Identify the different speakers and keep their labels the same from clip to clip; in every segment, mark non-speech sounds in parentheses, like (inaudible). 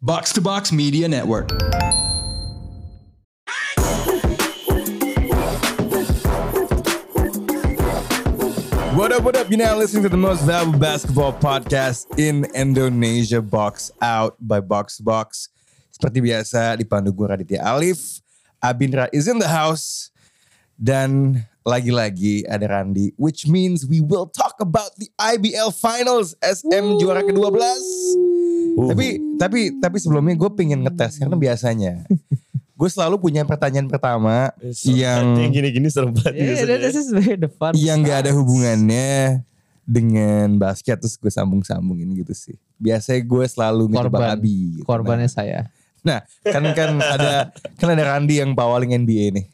Speaker 1: Box to Box Media Network.
Speaker 2: What up, what up? You're now listening to the most valuable basketball podcast in Indonesia, Box Out by Box to Box. Seperti biasa, dipandu gue Raditya Alif, Abindra is in the house, dan lagi-lagi ada Randi, which means we will talk about the IBL Finals SM juara ke-12. Tapi, tapi, tapi sebelumnya gue pengen ngetes, karena biasanya gue selalu punya pertanyaan pertama yang...
Speaker 3: gini-gini serem banget
Speaker 4: Yeah, Ya, that- this is where the fun.
Speaker 2: yang nggak ada
Speaker 4: starts.
Speaker 2: hubungannya dengan basket terus gue sambung-sambungin gitu sih. Biasanya gue selalu
Speaker 4: Korban.
Speaker 2: mencoba abi. gitu.
Speaker 4: Korbannya saya.
Speaker 2: Nah, kan kan ada kan ada Randy yang pawaling NBA nih.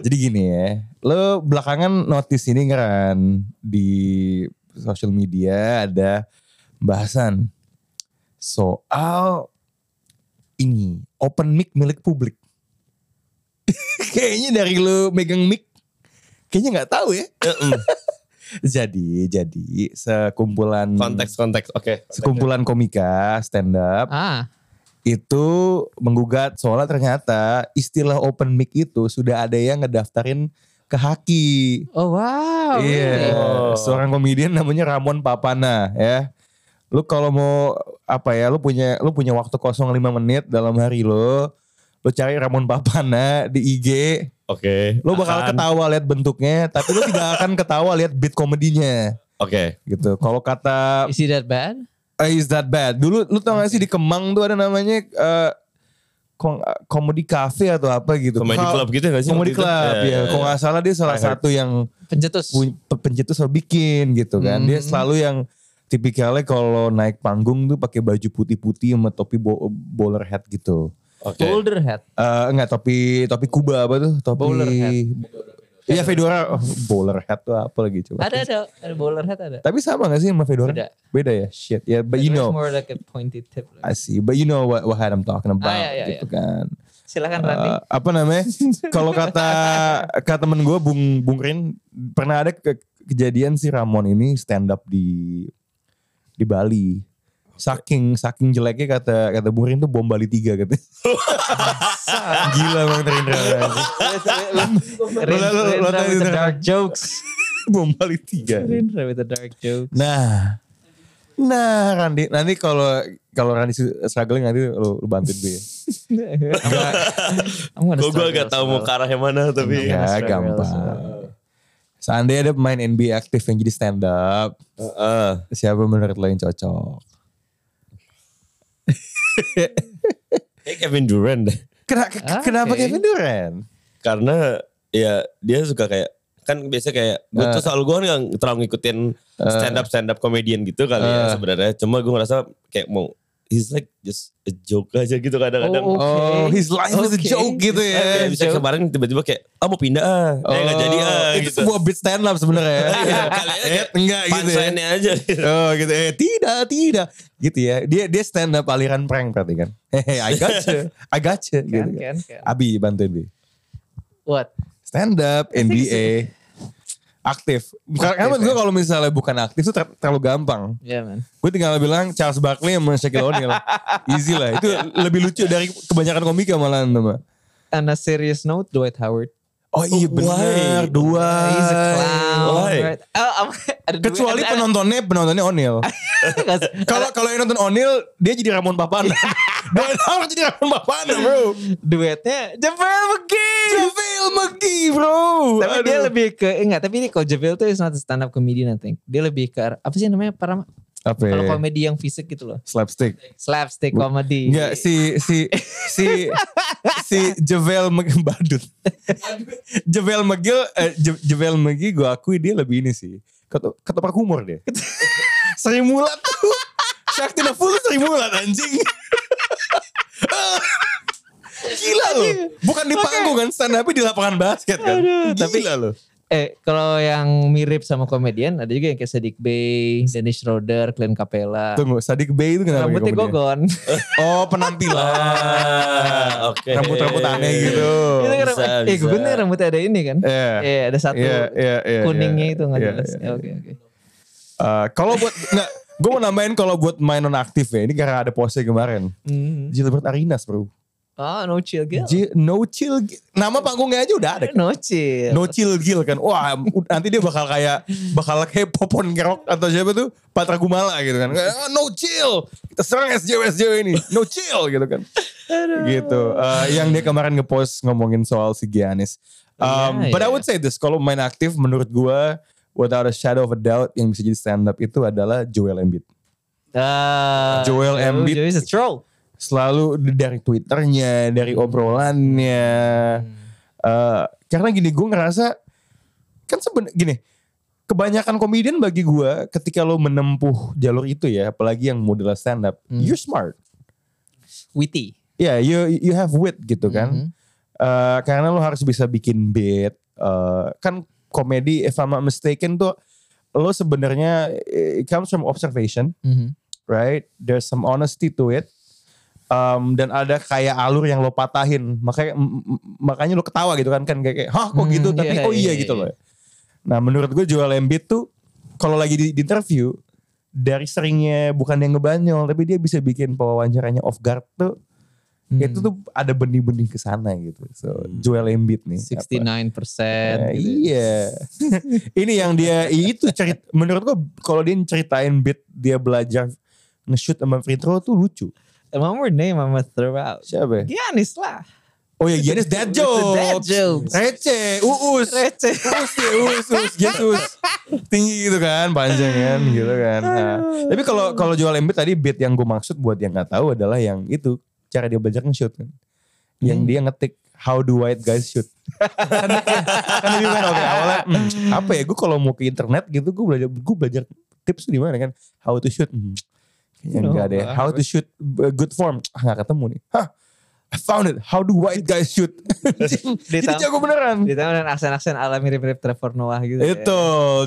Speaker 2: Jadi gini ya, lo belakangan notice ini ngeran di social media ada bahasan soal ini open mic milik publik. (laughs) kayaknya dari lo megang mic, kayaknya nggak tahu ya. (laughs) jadi jadi sekumpulan
Speaker 3: konteks konteks oke
Speaker 2: sekumpulan komika stand up
Speaker 4: Ah,
Speaker 2: itu menggugat soalnya ternyata istilah open mic itu sudah ada yang ngedaftarin ke Haki.
Speaker 4: oh wow.
Speaker 2: Iya,
Speaker 4: really?
Speaker 3: Oh.
Speaker 2: seorang komedian namanya Ramon Papana ya. Lu kalau mau apa ya, lu punya lu punya waktu kosong 5 menit dalam hari lo, lu cari Ramon Papana di IG,
Speaker 3: oke
Speaker 2: lu bakal
Speaker 3: Apaan?
Speaker 2: ketawa lihat bentuknya, tapi lu tidak akan ketawa lihat beat komedinya
Speaker 3: oke
Speaker 2: gitu. Kalau kata
Speaker 4: Is he that bad?
Speaker 2: Eh, is that bad? Dulu lu tau gak sih di Kemang tuh ada namanya eh kom- comedy cafe atau apa gitu.
Speaker 3: comedy
Speaker 2: Kalau-
Speaker 3: club gitu gak sih
Speaker 2: Comedy
Speaker 3: waktu itu?
Speaker 2: club
Speaker 3: Ya,
Speaker 2: ya.
Speaker 3: ya,
Speaker 2: Kalau
Speaker 3: ya.
Speaker 2: gak salah dia salah
Speaker 3: I heard.
Speaker 2: satu yang
Speaker 4: Pencetus.
Speaker 2: pu- pe- pencetus atau bikin gitu kan. Dia
Speaker 4: Hmm.
Speaker 2: selalu yang tipikalnya kalau naik panggung tuh pakai baju putih-putih sama topi bo- bowler hat gitu.
Speaker 3: oke
Speaker 4: Boulder head.
Speaker 2: Eh enggak topi topi Kuba apa tuh? Topi
Speaker 4: Bowler hat.
Speaker 2: Iya fedora Oh, bowler hat tuh apa lagi coba.
Speaker 4: Ada ada ada bowler head ada.
Speaker 2: Tapi sama gak sih sama fedora?
Speaker 4: Beda.
Speaker 2: Beda ya. Shit. Ya but you
Speaker 4: It's
Speaker 2: know.
Speaker 4: more like a pointed tip.
Speaker 2: I see. But you know what, what I'm talking about
Speaker 4: Ah, iya, iya,
Speaker 2: gitu kan.
Speaker 4: Silakan Randy.
Speaker 2: Eh, apa namanya? Kalau kata kata temen gue Bung Bung Rin pernah ada ke- kejadian si Ramon ini stand up di di Bali. Saking saking jeleknya kata kata Bung Rin tuh bom Bali 3 katanya. Gila Bang Rindra.
Speaker 4: Rindra,
Speaker 2: lo- lo- lo-
Speaker 4: Rindra
Speaker 2: lo-
Speaker 4: with the
Speaker 2: lo-
Speaker 4: dark
Speaker 2: (laughs)
Speaker 4: jokes.
Speaker 2: bom Bali 3.
Speaker 4: Rindra with the dark jokes.
Speaker 2: Nah. Nah, Randi, nanti kalau kalau Randi struggling nanti lu, lu bantuin gue ya.
Speaker 4: I'm gonna
Speaker 3: gue gue
Speaker 4: struggle
Speaker 3: gak tau
Speaker 4: as
Speaker 3: mau
Speaker 4: well.
Speaker 3: ke arah yang mana tapi
Speaker 4: Enggak.
Speaker 2: Ya
Speaker 4: Australia
Speaker 2: gampang.
Speaker 4: also.
Speaker 2: Seandainya ada pemain NBA aktif yang jadi stand up,
Speaker 3: Heeh.
Speaker 2: siapa menurut lo yang cocok?
Speaker 3: Kayak Kevin Durant deh
Speaker 2: Kena- ke-
Speaker 4: Ah,
Speaker 2: Kenapa
Speaker 4: oke.
Speaker 2: Kevin Durant?
Speaker 3: karena ya dia suka kayak kan biasanya kayak gue
Speaker 2: Eh.
Speaker 3: tuh selalu gue kan gak terlalu ngikutin stand up stand up comedian gitu kali
Speaker 2: Eh.
Speaker 3: ya sebenarnya cuma gue ngerasa kayak mau he's like just a joke aja gitu kadang-kadang
Speaker 2: Oh,
Speaker 4: Oh,
Speaker 2: his life is a
Speaker 4: Oke.
Speaker 2: joke gitu
Speaker 3: Ya, kayak
Speaker 2: ya.
Speaker 3: bisa kemarin tiba-tiba kayak ah mau pindah ah eh nggak jadi ah
Speaker 2: Oh, itu
Speaker 3: gitu
Speaker 2: sebuah bit stand up (laughs) sebenarnya.
Speaker 3: Iya, kali aja
Speaker 2: eh,
Speaker 3: kayak
Speaker 2: enggak gitu ya.
Speaker 3: punchline-nya aja
Speaker 2: Oh gitu eh tidak tidak gitu ya. Dia dia stand up aliran prank berarti kan. (laughs) Hehe, I gotcha. I gotcha gitu. kan.
Speaker 4: Kan, kan, kan.
Speaker 2: Abi bantuin Bi.
Speaker 4: What?
Speaker 2: stand up
Speaker 4: I think
Speaker 2: NBA aktif. Karena menurut
Speaker 4: ya.
Speaker 2: gue kalau misalnya bukan aktif itu ter- terlalu gampang.
Speaker 4: Yeah man.
Speaker 2: Gue tinggal bilang Charles Barkley sama Shaquille
Speaker 4: (laughs)
Speaker 2: O'Neal. Easy lah. Itu lebih lucu dari kebanyakan ya komika malahan nama.
Speaker 4: On a serious note, Dwight Howard.
Speaker 2: Oh iya benar
Speaker 3: Why?
Speaker 2: dua.
Speaker 4: He's a clown.
Speaker 3: Why?
Speaker 4: right? Oh, I'm- (laughs) ada dua-
Speaker 2: Kecuali
Speaker 4: ada- ada-
Speaker 2: penontonnya penontonnya
Speaker 4: (laughs)
Speaker 2: O'Neal.
Speaker 4: Nggak sih.
Speaker 2: Kalau kalau yang nonton O'Neal dia jadi Ramon Papana.
Speaker 4: Iya.
Speaker 2: (laughs) Dan orang jadi Ramon Papana bro.
Speaker 4: duetnya Javel McGee.
Speaker 2: JaVale McGee bro.
Speaker 4: Tapi
Speaker 2: Aduh.
Speaker 4: dia lebih ke enggak, tapi ini kalau Javel tuh is not a stand up comedian I think. Dia lebih ke arah- apa sih namanya? Para
Speaker 2: apa? ya?
Speaker 4: kalau komedi yang fisik gitu loh.
Speaker 2: Slapstick.
Speaker 4: Slapstick comedy.
Speaker 2: Enggak si si si si Javel Mc- (laughs) badut. Javel McGill eh, Je- Javel McGee gue akui dia lebih ini sih. Ketu- Ketupat humor dia. (laughs) Seri mulat tuh. Sakti full seri mulat anjing. (laughs) Gila loh. Bukan di panggung kan stand up di lapangan basket kan.
Speaker 4: tapi-
Speaker 2: Gila loh.
Speaker 4: Eh, kalau yang mirip sama komedian ada juga yang kayak Sadik Bay, Dennis Schroeder, Glenn Capella.
Speaker 2: Tunggu, Sadik Bay itu kenapa?
Speaker 4: Rambutnya
Speaker 2: kemudian?
Speaker 4: gogon.
Speaker 2: Oh, penampilan.
Speaker 3: Ah, oke
Speaker 2: Rambut-rambut aneh gitu.
Speaker 4: (laughs) Itu kan
Speaker 3: Bisa,
Speaker 4: rambut- eh
Speaker 3: bisa.
Speaker 4: gogonnya rambutnya ada ini kan?
Speaker 2: Iya.
Speaker 4: Iya, ada satu
Speaker 2: Iya, iya, iya,
Speaker 4: kuningnya
Speaker 2: iya,
Speaker 4: itu nggak
Speaker 2: iya,
Speaker 4: jelas.
Speaker 2: iya.
Speaker 4: Ya, Oke, oke. (laughs)
Speaker 2: Eh, kalau buat nggak Gue mau nambahin kalau buat main nonaktif ya. Ini karena ada pose kemarin.
Speaker 4: Hmm.
Speaker 2: Gilbert Arinas bro.
Speaker 4: Oh, no chill girl.
Speaker 2: Ji- no chill. Gi- Nama panggungnya aja udah ada.
Speaker 4: No chill.
Speaker 2: No chill Gil kan. Wah nanti dia bakal kayak. Bakal kayak Popon Gerok atau siapa tuh. Patra Gumala gitu kan. Kayak, "Ah, No chill. Kita serang SJW-SJW ini. No chill gitu kan. gitu. Eh, yang dia kemarin ngepost ngomongin soal si Giannis. Um,
Speaker 4: Iya,
Speaker 2: but I
Speaker 4: iya.
Speaker 2: would say this. Kalau main aktif menurut gua Without a shadow of a doubt. Yang bisa jadi stand up itu adalah Joel Embiid.
Speaker 4: Ah,
Speaker 2: Joel Embiid.
Speaker 4: Joel is a troll.
Speaker 2: selalu dari twitternya dari obrolannya Eh, karena gini gue ngerasa kan seben gini kebanyakan komedian bagi gue ketika lo menempuh jalur itu ya apalagi yang model stand up you're smart
Speaker 4: Witty.
Speaker 2: ya you you have wit gitu kan Eh, karena lo harus bisa bikin bit Eh, kan komedi if I'm not mistaken tuh lo sebenarnya eh, it comes from observation right? There's some honesty to it. Um, dan ada kayak alur yang lo patahin, makanya m- m- makanya lo ketawa gitu kan kan kayak, kayak, hah kok
Speaker 4: Hmm,
Speaker 2: gitu tapi
Speaker 4: iya,
Speaker 2: oh iya
Speaker 4: iya,
Speaker 2: gitu
Speaker 4: iya.
Speaker 2: loh. Nah menurut gue Joel Embiid tuh kalau lagi di, di interview dari seringnya bukan yang ngebanyol tapi dia bisa bikin pewawancaranya off guard tuh
Speaker 4: Hmm.
Speaker 2: itu tuh ada benih-benih ke sana gitu. So Joel Embiid nih. apa-
Speaker 4: 69 persen.
Speaker 2: Eh, Iya.
Speaker 4: (laughs)
Speaker 2: ini yang dia itu cerit menurut gua kalau dia ceritain beat dia belajar nge-shoot sama free throw tuh lucu.
Speaker 4: One more name I'm gonna throw out.
Speaker 2: Siapa? ya?
Speaker 4: Giannis lah.
Speaker 2: Oh ya Giannis dad
Speaker 4: It's a
Speaker 2: joke.
Speaker 4: dad jokes.
Speaker 2: Receh, Eh, uus.
Speaker 4: Receh.
Speaker 2: (laughs)
Speaker 4: (laughs)
Speaker 2: Uus ya, uus, uus, Giannis uus. Tinggi gitu kan, panjang kan, gitu kan. Nah, tapi kalau kalau jual Embiid tadi beat yang gue maksud buat yang nggak tahu adalah yang itu cara dia belajar nge-shoot kan. Yang dia ngetik how do white guys shoot. kan dia bilang oke awalnya hmm, apa ya gue kalau mau ke internet gitu gue belajar gue belajar tips tuh di mana kan how to shoot hmm, kayaknya
Speaker 4: No,
Speaker 2: enggak deh
Speaker 4: nggak
Speaker 2: how to shoot uh, good form ah nggak ketemu nih hah I found it how do white guys shoot jadi
Speaker 4: Ditambah-
Speaker 2: jago beneran
Speaker 4: Ditambah dengan aksen-aksen ala mirip-mirip Trevor Noah gitu. ya.
Speaker 2: itu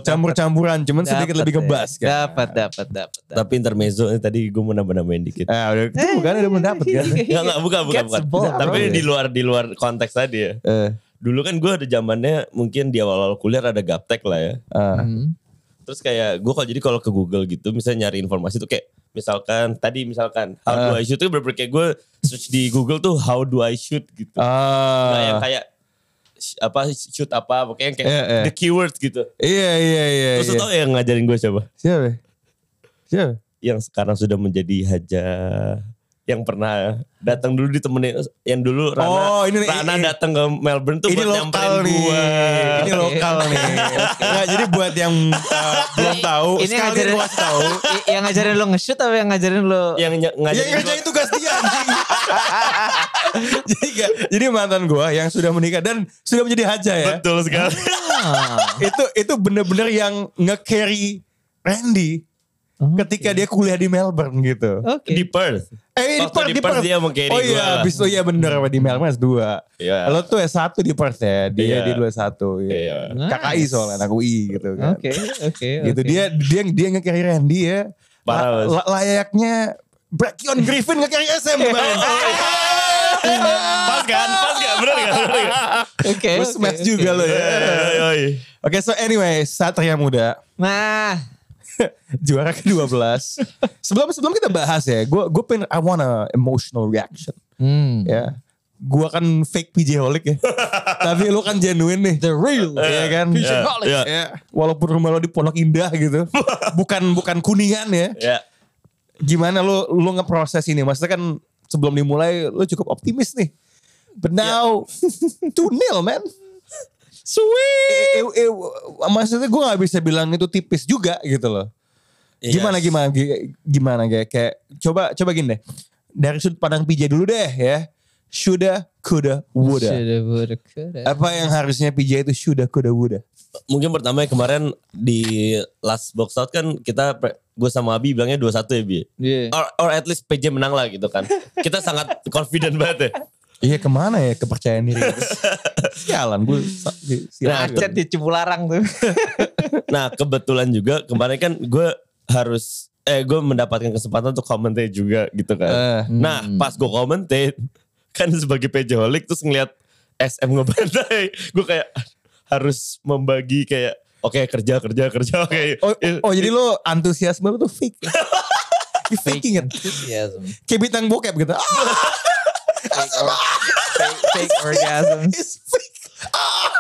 Speaker 2: campur-campuran cuman sedikit
Speaker 4: Dapet
Speaker 2: lebih
Speaker 4: deh.
Speaker 2: ngebas kan
Speaker 4: Dapat, dapat, dapat.
Speaker 3: Tapi intermezzo eh, tadi gue mau nambah-nambahin
Speaker 2: (laughs) Eh,
Speaker 3: dikit.
Speaker 2: udah itu bukan udah mendapat
Speaker 4: (laughs)
Speaker 2: kan
Speaker 3: Enggak, enggak, bukan, bukan,
Speaker 4: Gets
Speaker 3: bukan.
Speaker 4: the ball,
Speaker 3: Tapi
Speaker 4: bro.
Speaker 3: di luar di luar konteks tadi ya.
Speaker 2: Eh,
Speaker 3: Dulu kan gue ada zamannya mungkin di awal-awal kuliah ada gaptek lah ya.
Speaker 2: ah.
Speaker 4: Hmm.
Speaker 3: Terus kayak gue kalau jadi kalau ke Google gitu misalnya nyari informasi tuh kayak misalkan tadi misalkan how do
Speaker 2: Ah.
Speaker 3: I shoot tuh bener kayak gue search di Google tuh how do I shoot gitu.
Speaker 2: Ah.
Speaker 3: Nah, yang kayak sh- apa shoot apa pokoknya yang kayak
Speaker 2: Iya, iya.
Speaker 3: the keywords gitu.
Speaker 2: iya iya iya
Speaker 3: Terus
Speaker 2: iya.
Speaker 3: tau yang ngajarin gue siapa?
Speaker 2: siapa siapa
Speaker 3: Yang sekarang sudah menjadi haja yang pernah datang dulu ditemenin yang dulu Rana
Speaker 2: Oh, ini-
Speaker 3: Rana
Speaker 2: ini-
Speaker 3: datang ke Melbourne tuh
Speaker 2: ini
Speaker 3: buat
Speaker 2: lokal
Speaker 3: nyamperin
Speaker 2: nih.
Speaker 3: gue.
Speaker 2: Ini lokal
Speaker 4: (laughs)
Speaker 2: nih. Nggak, jadi buat yang uh, belum tahu,
Speaker 4: Ini
Speaker 2: sekali
Speaker 4: ngajarin-
Speaker 2: gua kasih tahu.
Speaker 4: (laughs) I- yang ngajarin lo nge-shoot atau yang ngajarin lo
Speaker 3: Yang ny-
Speaker 2: Ya
Speaker 3: ngajarin
Speaker 2: ngerjain tugas dia anjing. (laughs) jadi, nggak- jadi mantan gua yang sudah menikah dan sudah menjadi haja
Speaker 3: gue.
Speaker 2: ya.
Speaker 3: Betul
Speaker 2: (laughs)
Speaker 3: sekali.
Speaker 4: Ah.
Speaker 2: Itu itu bener-bener yang nge-carry Randy ketika dia kuliah di Melbourne gitu.
Speaker 4: Oke.
Speaker 3: di Perth.
Speaker 2: Eh,
Speaker 3: Waktu di Perth dia meng-carry
Speaker 2: Oh
Speaker 3: gua
Speaker 2: iya,
Speaker 3: lah.
Speaker 2: abis itu iya bener apa di Melbourne S2.
Speaker 3: Iya.
Speaker 2: Lo tuh S1 di Perth ya, dia di
Speaker 3: Iya.
Speaker 2: lu S1.
Speaker 3: Iya.
Speaker 2: Iya. KKI soalnya, anak UI gitu kan.
Speaker 4: Oke, oke.
Speaker 2: gitu
Speaker 4: oke.
Speaker 2: dia dia dia nge-carry Randy ya
Speaker 3: Parah, Mas.
Speaker 2: La- la- layaknya Brakion Griffin nge-carry SM kemarin
Speaker 3: pas kan? Pas gak? Bener gak? Bener gak?
Speaker 4: (laughs)
Speaker 2: (laughs)
Speaker 4: Oke.
Speaker 2: Terus
Speaker 4: oke,
Speaker 2: match
Speaker 4: oke.
Speaker 2: juga lo ya
Speaker 3: Yoi, yoi.
Speaker 2: oke so anyway Satria Muda
Speaker 4: Nah,
Speaker 2: (laughs) juara ke-12 sebelum sebelum kita bahas ya gue gue pengen I want a emotional reaction
Speaker 4: hmm.
Speaker 2: ya gue kan fake PJ Holic (laughs) ya tapi lu kan genuine nih
Speaker 4: the real.
Speaker 2: Iya kan?
Speaker 3: Iya, iya.
Speaker 2: Ya, Walaupun rumah lo di Pondok Indah (laughs) gitu. bukan bukan kuningan ya.
Speaker 3: Ya.
Speaker 2: gimana lu lu ngeproses ini? Maksudnya kan sebelum dimulai lu cukup optimis nih. But now (laughs) 2-0 man. Sweet. maksudnya gue gak bisa bilang itu tipis juga gitu loh.
Speaker 3: Iya.
Speaker 2: Gimana gimana gi- gimana kayak kayak coba coba gini deh. Dari sudut pandang PJ dulu deh ya. Shoulda, kuda, woulda.
Speaker 4: Shoulda, woulda, coulda.
Speaker 2: Apa yang harusnya PJ itu shoulda, kuda, woulda.
Speaker 3: Mungkin pertama ya, kemarin di last box out kan kita gue sama Abi bilangnya 21 ya Bi.
Speaker 4: Iya.
Speaker 3: Or, or at least PJ menang lah gitu kan. Kita sangat confident banget ya.
Speaker 2: Iya kemana ya kepercayaan diri.
Speaker 4: (laughs)
Speaker 2: Sialan gue.
Speaker 4: Macet Nah, di Cipularang tuh.
Speaker 3: Nah kebetulan juga kemarin kan gue harus eh gue mendapatkan kesempatan untuk komentar juga gitu
Speaker 2: Eh.
Speaker 3: kan. nah pas gue komentar kan sebagai PJ Holic terus ngeliat SM ngebantai gue kayak harus membagi kayak Oke kerja kerja kerja oke.
Speaker 2: Oh,
Speaker 4: Iya.
Speaker 2: oh, jadi lo antusiasme lo tuh fake. ya?
Speaker 4: (laughs)
Speaker 2: you faking it.
Speaker 4: enthusiasm.
Speaker 2: Kayak bintang bokep gitu. Ah,
Speaker 4: Fake or- fake- fake orgasm. (laughs)
Speaker 2: it's fake.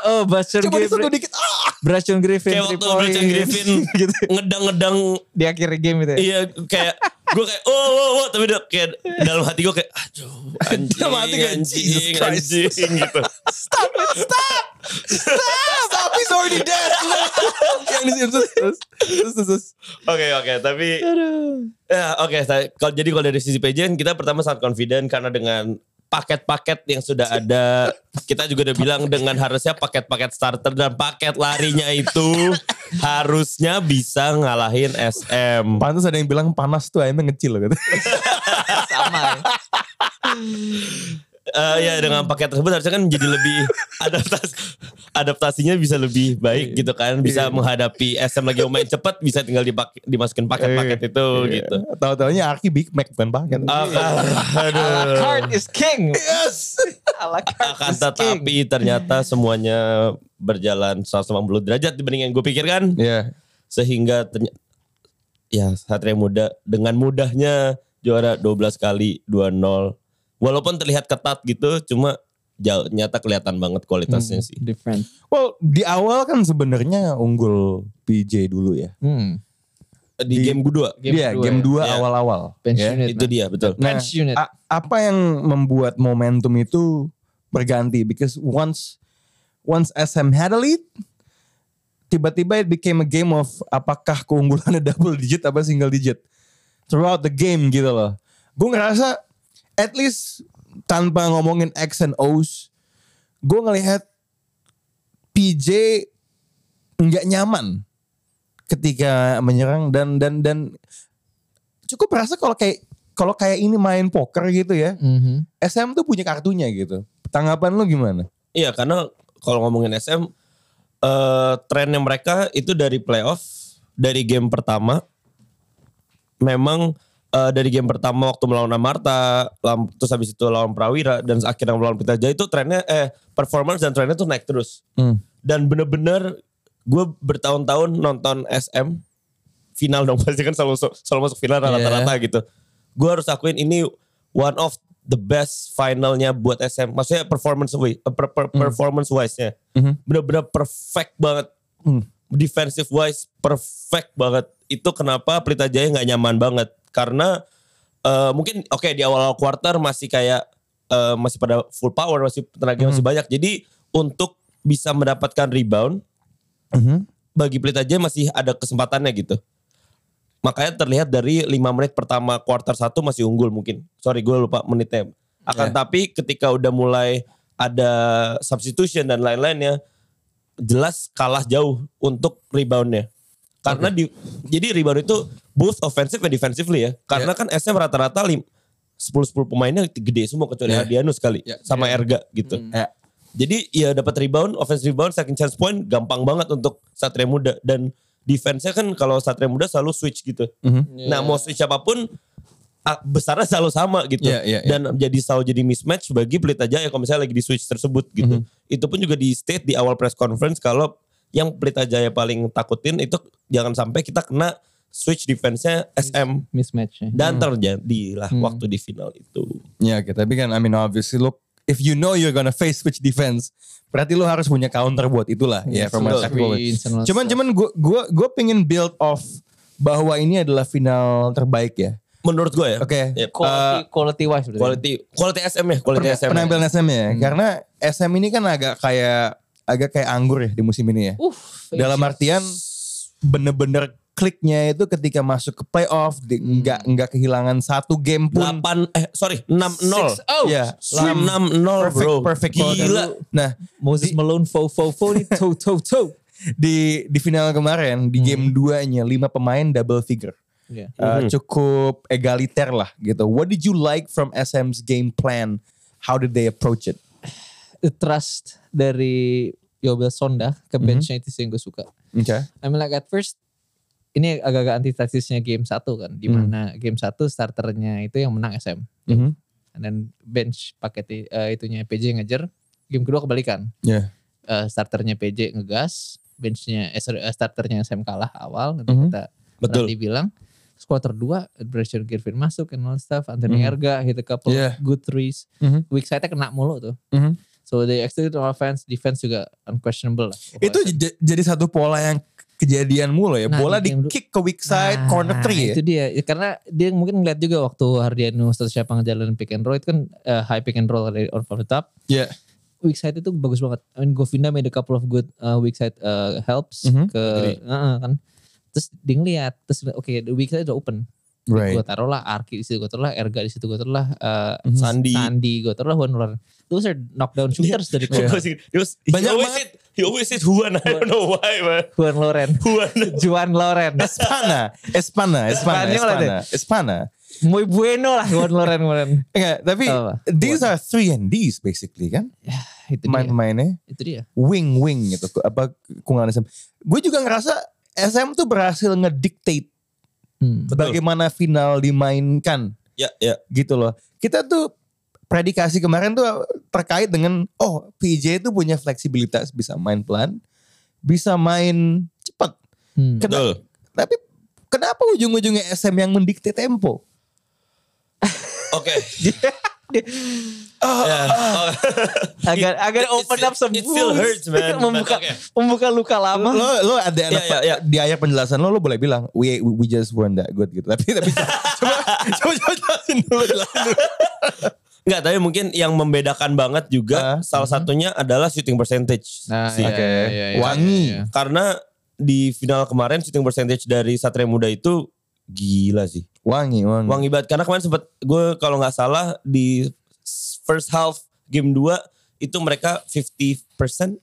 Speaker 4: Oh, Bastion
Speaker 2: Coba disentuh
Speaker 4: Griffin.
Speaker 2: dikit. Ah,
Speaker 4: Brashon Griffin.
Speaker 3: kayak
Speaker 4: three
Speaker 3: waktu Brandon
Speaker 4: points.
Speaker 2: (laughs)
Speaker 3: Griffin
Speaker 2: Gitu.
Speaker 3: ngedang-ngedang
Speaker 4: Di akhir game itu ya.
Speaker 3: iya kayak gue kayak oh oh oh tapi udah kayak dalam hati gue kayak aduh
Speaker 2: (laughs)
Speaker 3: anjing
Speaker 2: Dalam hati kayak, Jesus
Speaker 3: anjing
Speaker 2: Christ.
Speaker 3: anjing gitu
Speaker 2: stop it, stop. Stop. stop, he's already
Speaker 4: (laughs)
Speaker 2: dead. Yang di situ. Terus, terus, terus, terus.
Speaker 3: Oke oke tapi ya oke saya- kalau jadi kalau dari sisi PJ kita pertama sangat confident karena dengan paket-paket yang sudah ada kita juga udah bilang dengan harusnya paket-paket starter dan paket larinya itu harusnya bisa ngalahin SM.
Speaker 2: Pantas ada yang bilang panas tuh ayamnya ngecil loh gitu.
Speaker 4: Sama ya.
Speaker 3: Eh ya dengan paket tersebut harusnya kan jadi lebih (laughs) adaptasi adaptasinya bisa lebih baik gitu kan bisa menghadapi SM lagi mau main cepat bisa tinggal dipak- dimasukin paket-paket itu
Speaker 2: (laughs)
Speaker 3: gitu.
Speaker 2: Tahu-taunya Aki Big Mac bukan paket.
Speaker 3: Ah,
Speaker 4: Ala
Speaker 3: aduh.
Speaker 4: carte is king.
Speaker 2: Yes.
Speaker 4: Ala
Speaker 3: akan
Speaker 4: carte is king.
Speaker 3: ah, kan tetapi ternyata semuanya berjalan 180 derajat dibanding yang gue pikirkan
Speaker 2: Iya.
Speaker 3: sehingga terny- ya Satria Muda dengan mudahnya juara 12 kali 2-0 walaupun terlihat ketat gitu cuma jauh, nyata kelihatan banget
Speaker 2: Ah,
Speaker 3: kualitasnya sih
Speaker 4: Hmm, Different.
Speaker 2: Well, di awal kan sebenarnya unggul PJ dulu ya.
Speaker 4: Hmm.
Speaker 3: di,
Speaker 2: Di-
Speaker 3: game kedua
Speaker 4: Game
Speaker 2: Iya,
Speaker 4: kedua
Speaker 2: game 2
Speaker 4: ya.
Speaker 3: Iya.
Speaker 2: awal-awal.
Speaker 4: Bench
Speaker 2: ya.
Speaker 4: unit.
Speaker 3: itu
Speaker 4: man.
Speaker 3: dia betul
Speaker 2: Nah,
Speaker 4: Bench unit.
Speaker 2: A- apa yang membuat momentum itu berganti? Because once once SM had a lead, tiba-tiba it became a game of apakah keunggulannya (laughs) double digit apa single digit throughout the game gitu loh. Gue ngerasa at least tanpa ngomongin X and O's, gue ngelihat PJ nggak nyaman ketika menyerang dan dan dan cukup merasa kalau kayak kalau kayak ini main poker gitu ya
Speaker 4: Mhm.
Speaker 2: SM tuh punya kartunya gitu tanggapan lu gimana
Speaker 3: iya karena kalau ngomongin SM eh trennya mereka itu dari playoff dari game pertama memang eh, dari game pertama waktu melawan Amarta, lam- terus habis itu lawan Prawira dan akhirnya melawan Pelita Jaya itu trennya eh performance dan trennya tuh naik terus.
Speaker 2: Hmm.
Speaker 3: Dan bener-bener gue bertahun-tahun nonton SM final dong (laughs) pasti kan selalu selalu masuk final rata-rata gitu. Gue harus akuin ini one of the best finalnya buat SM. Maksudnya performance wi- eh, per- per- performance wise-nya. Bener-bener perfect banget defensive wise perfect banget. Itu kenapa Pelita Jaya nggak nyaman banget karena eh, mungkin oke di awal-awal quarter masih kayak eh, masih pada full power, masih tenaga masih banyak. Jadi untuk bisa mendapatkan rebound
Speaker 2: Mm-hmm.
Speaker 3: bagi Pelita Jaya masih ada kesempatannya gitu. Makanya terlihat dari 5 menit pertama quarter 1 masih unggul mungkin. Sorry gue lupa menitnya. Akan tapi ketika udah mulai ada substitution dan lain-lainnya jelas kalah jauh untuk reboundnya. Karena di jadi rebound itu both offensive and defensively ya. Karena kan SM rata-rata lim- 10-10 pemainnya gede semua kecuali
Speaker 2: Yeah.
Speaker 3: Adiano sekali
Speaker 2: Yeah.
Speaker 3: sama Erga gitu.
Speaker 2: Ya.
Speaker 3: Jadi ya dapat rebound, offense rebound, second chance point gampang banget untuk Satria Muda dan defense-nya kan kalau Satria Muda selalu switch gitu.
Speaker 2: Mhm.
Speaker 3: Nah, mau switch apapun ah, besarnya selalu sama gitu.
Speaker 2: Iya, iya, iya.
Speaker 3: Dan jadi selalu jadi mismatch bagi Pelita Jaya kalau misalnya lagi di switch tersebut
Speaker 2: Mhm.
Speaker 3: gitu. Itu pun juga di state di awal press conference kalau yang Pelita Jaya paling takutin itu jangan sampai kita kena switch defense-nya SM
Speaker 4: Mismatch-nya.
Speaker 3: dan
Speaker 2: Mhm.
Speaker 3: terjadilah waktu di final itu.
Speaker 2: ya oke tapi kan I mean obviously look if you know you're gonna face which defense berarti lu harus punya counter buat itulah ya from a
Speaker 4: Betul.
Speaker 2: tactical way.
Speaker 4: Internal
Speaker 2: cuman
Speaker 4: stuff.
Speaker 2: cuman gue gue gue pengen build off bahwa ini adalah final terbaik ya
Speaker 3: Menurut gue ya.
Speaker 2: Oke. Uh,
Speaker 3: Yep. Eh,
Speaker 4: Quality, quality wise berarti.
Speaker 3: quality quality SM ya, quality
Speaker 2: Pen-
Speaker 3: SM.
Speaker 2: penampilan SM ya
Speaker 4: Hmm.
Speaker 2: karena SM ini kan agak kayak agak kayak anggur ya di musim ini ya
Speaker 4: Uh,
Speaker 2: dalam artian bener-bener kliknya itu ketika masuk ke playoff di- nggak nggak kehilangan satu game pun
Speaker 3: delapan eh sorry 6-0.
Speaker 4: Oh,
Speaker 2: ya
Speaker 3: Lah, 6-0
Speaker 2: perfect
Speaker 3: bro.
Speaker 2: perfect call.
Speaker 3: Gila.
Speaker 2: nah
Speaker 4: Moses Malone fo fo fo
Speaker 2: (laughs)
Speaker 4: nih toe toe toe. Hmm.
Speaker 2: di di final kemarin di game 2-nya lima pemain double figure
Speaker 4: Iya.
Speaker 2: Uh, cukup egaliter lah gitu what did you like from SM's game plan how did they approach it
Speaker 4: The trust dari Yobel Sonda ke
Speaker 2: Mhm.
Speaker 4: benchnya itu sih yang gue suka.
Speaker 2: okay
Speaker 4: I mean like at first ini agak-agak antitesisnya game satu kan, di mana game satu starternya itu yang menang SM,
Speaker 2: Mhm.
Speaker 4: and then bench paket eh, itunya PJ ngejar. Game kedua kebalikan,
Speaker 2: yeah
Speaker 4: Eh, starternya PJ ngegas, benchnya eh, sorry, eh, starternya SM kalah awal nanti
Speaker 2: Mhm.
Speaker 4: kita
Speaker 3: Betul.
Speaker 4: nanti bilang Terus quarter 2 Brashan Kirvin masuk and all stuff Anthony Erga hit a couple
Speaker 2: Mhm. Yeah.
Speaker 4: of good threes
Speaker 2: Mhm.
Speaker 4: weak side-nya kena mulu tuh
Speaker 2: Mhm.
Speaker 4: so they executed on offense defense juga unquestionable lah
Speaker 2: Itu j- jadi satu pola yang kejadian mulu ya.
Speaker 4: Nah,
Speaker 2: Bola
Speaker 4: di
Speaker 2: di
Speaker 4: game dulu.
Speaker 2: kick ke weak side,
Speaker 4: Nah,
Speaker 2: corner three ya.
Speaker 4: Itu dia. Ya, Karena dia mungkin ngeliat juga waktu Hardiano atau siapa ngejalanin pick and roll itu kan eh, high pick and roll dari on from the top.
Speaker 2: Iya.
Speaker 4: Weak side itu bagus banget. I mean, Govinda made a couple of good eh, weak side eh, helps
Speaker 2: Mhm.
Speaker 4: ke Heeh, kan. Terus dia ngeliat, terus oke the weak side udah open. Gue taruh lah Arki di situ gue taruh lah, Erga di situ gue taruh lah, eh,
Speaker 3: Sandi.
Speaker 4: Sandi Iya. gue taruh lah, Juan Luar. Those are knockdown shooters dari
Speaker 3: He
Speaker 4: Juan
Speaker 3: was- he was- he
Speaker 2: Banyak
Speaker 3: always
Speaker 2: banget.
Speaker 3: hit- He always hit Juan. I don't know why, man.
Speaker 4: Juan Loren.
Speaker 3: Juan.
Speaker 4: (laughs) Juan Loren.
Speaker 2: Espana, Espana, Espana,
Speaker 4: Spanyol ada.
Speaker 2: Espana, Espana.
Speaker 4: (laughs) Muy bueno lah Juan Loren kemarin.
Speaker 2: Enggak, tapi
Speaker 4: Apa?
Speaker 2: these are three and these basically kan.
Speaker 4: Itu dia.
Speaker 2: Main-mainnya
Speaker 4: Itu dia.
Speaker 2: wing-wing gitu. Ke- Apa kungan SM. Gue juga ngerasa SM tuh berhasil ngedictate
Speaker 4: Hmm.
Speaker 2: bagaimana final dimainkan
Speaker 3: Ya, ya.
Speaker 2: gitu loh. Kita tuh predikasi kemarin tuh terkait dengan oh PJ itu punya fleksibilitas bisa main pelan, bisa main cepat.
Speaker 4: Hmm.
Speaker 2: Kena-
Speaker 3: Betul.
Speaker 2: Tapi kenapa ujung-ujungnya SM yang mendikte tempo?
Speaker 3: (laughs) Oke.
Speaker 4: agar agar
Speaker 3: Ah, Ya. It- it-
Speaker 4: open up
Speaker 3: it-
Speaker 4: some
Speaker 3: it still hurts,
Speaker 4: wounds.
Speaker 3: man.
Speaker 4: (laughs)
Speaker 3: (laughs)
Speaker 4: membuka
Speaker 3: But okay.
Speaker 4: membuka luka lama
Speaker 2: Lo lo ada anak
Speaker 3: ya, ya.
Speaker 2: di akhir penjelasan lo lo boleh bilang we we just weren't that good gitu. Tapi (laughs) tapi coba coba coba jelasin dulu. jelasin dulu.
Speaker 3: Enggak, tapi mungkin yang membedakan banget juga
Speaker 2: Ah.
Speaker 3: salah satunya adalah shooting percentage.
Speaker 4: Nah,
Speaker 3: sih.
Speaker 2: iya. Wangi.
Speaker 4: Iya,
Speaker 3: Karena di final kemarin shooting percentage dari Satria Muda itu gila sih.
Speaker 2: Wangi wangi.
Speaker 3: Wangi banget karena kemarin sempat gue kalau nggak salah di first half game 2 itu mereka 50%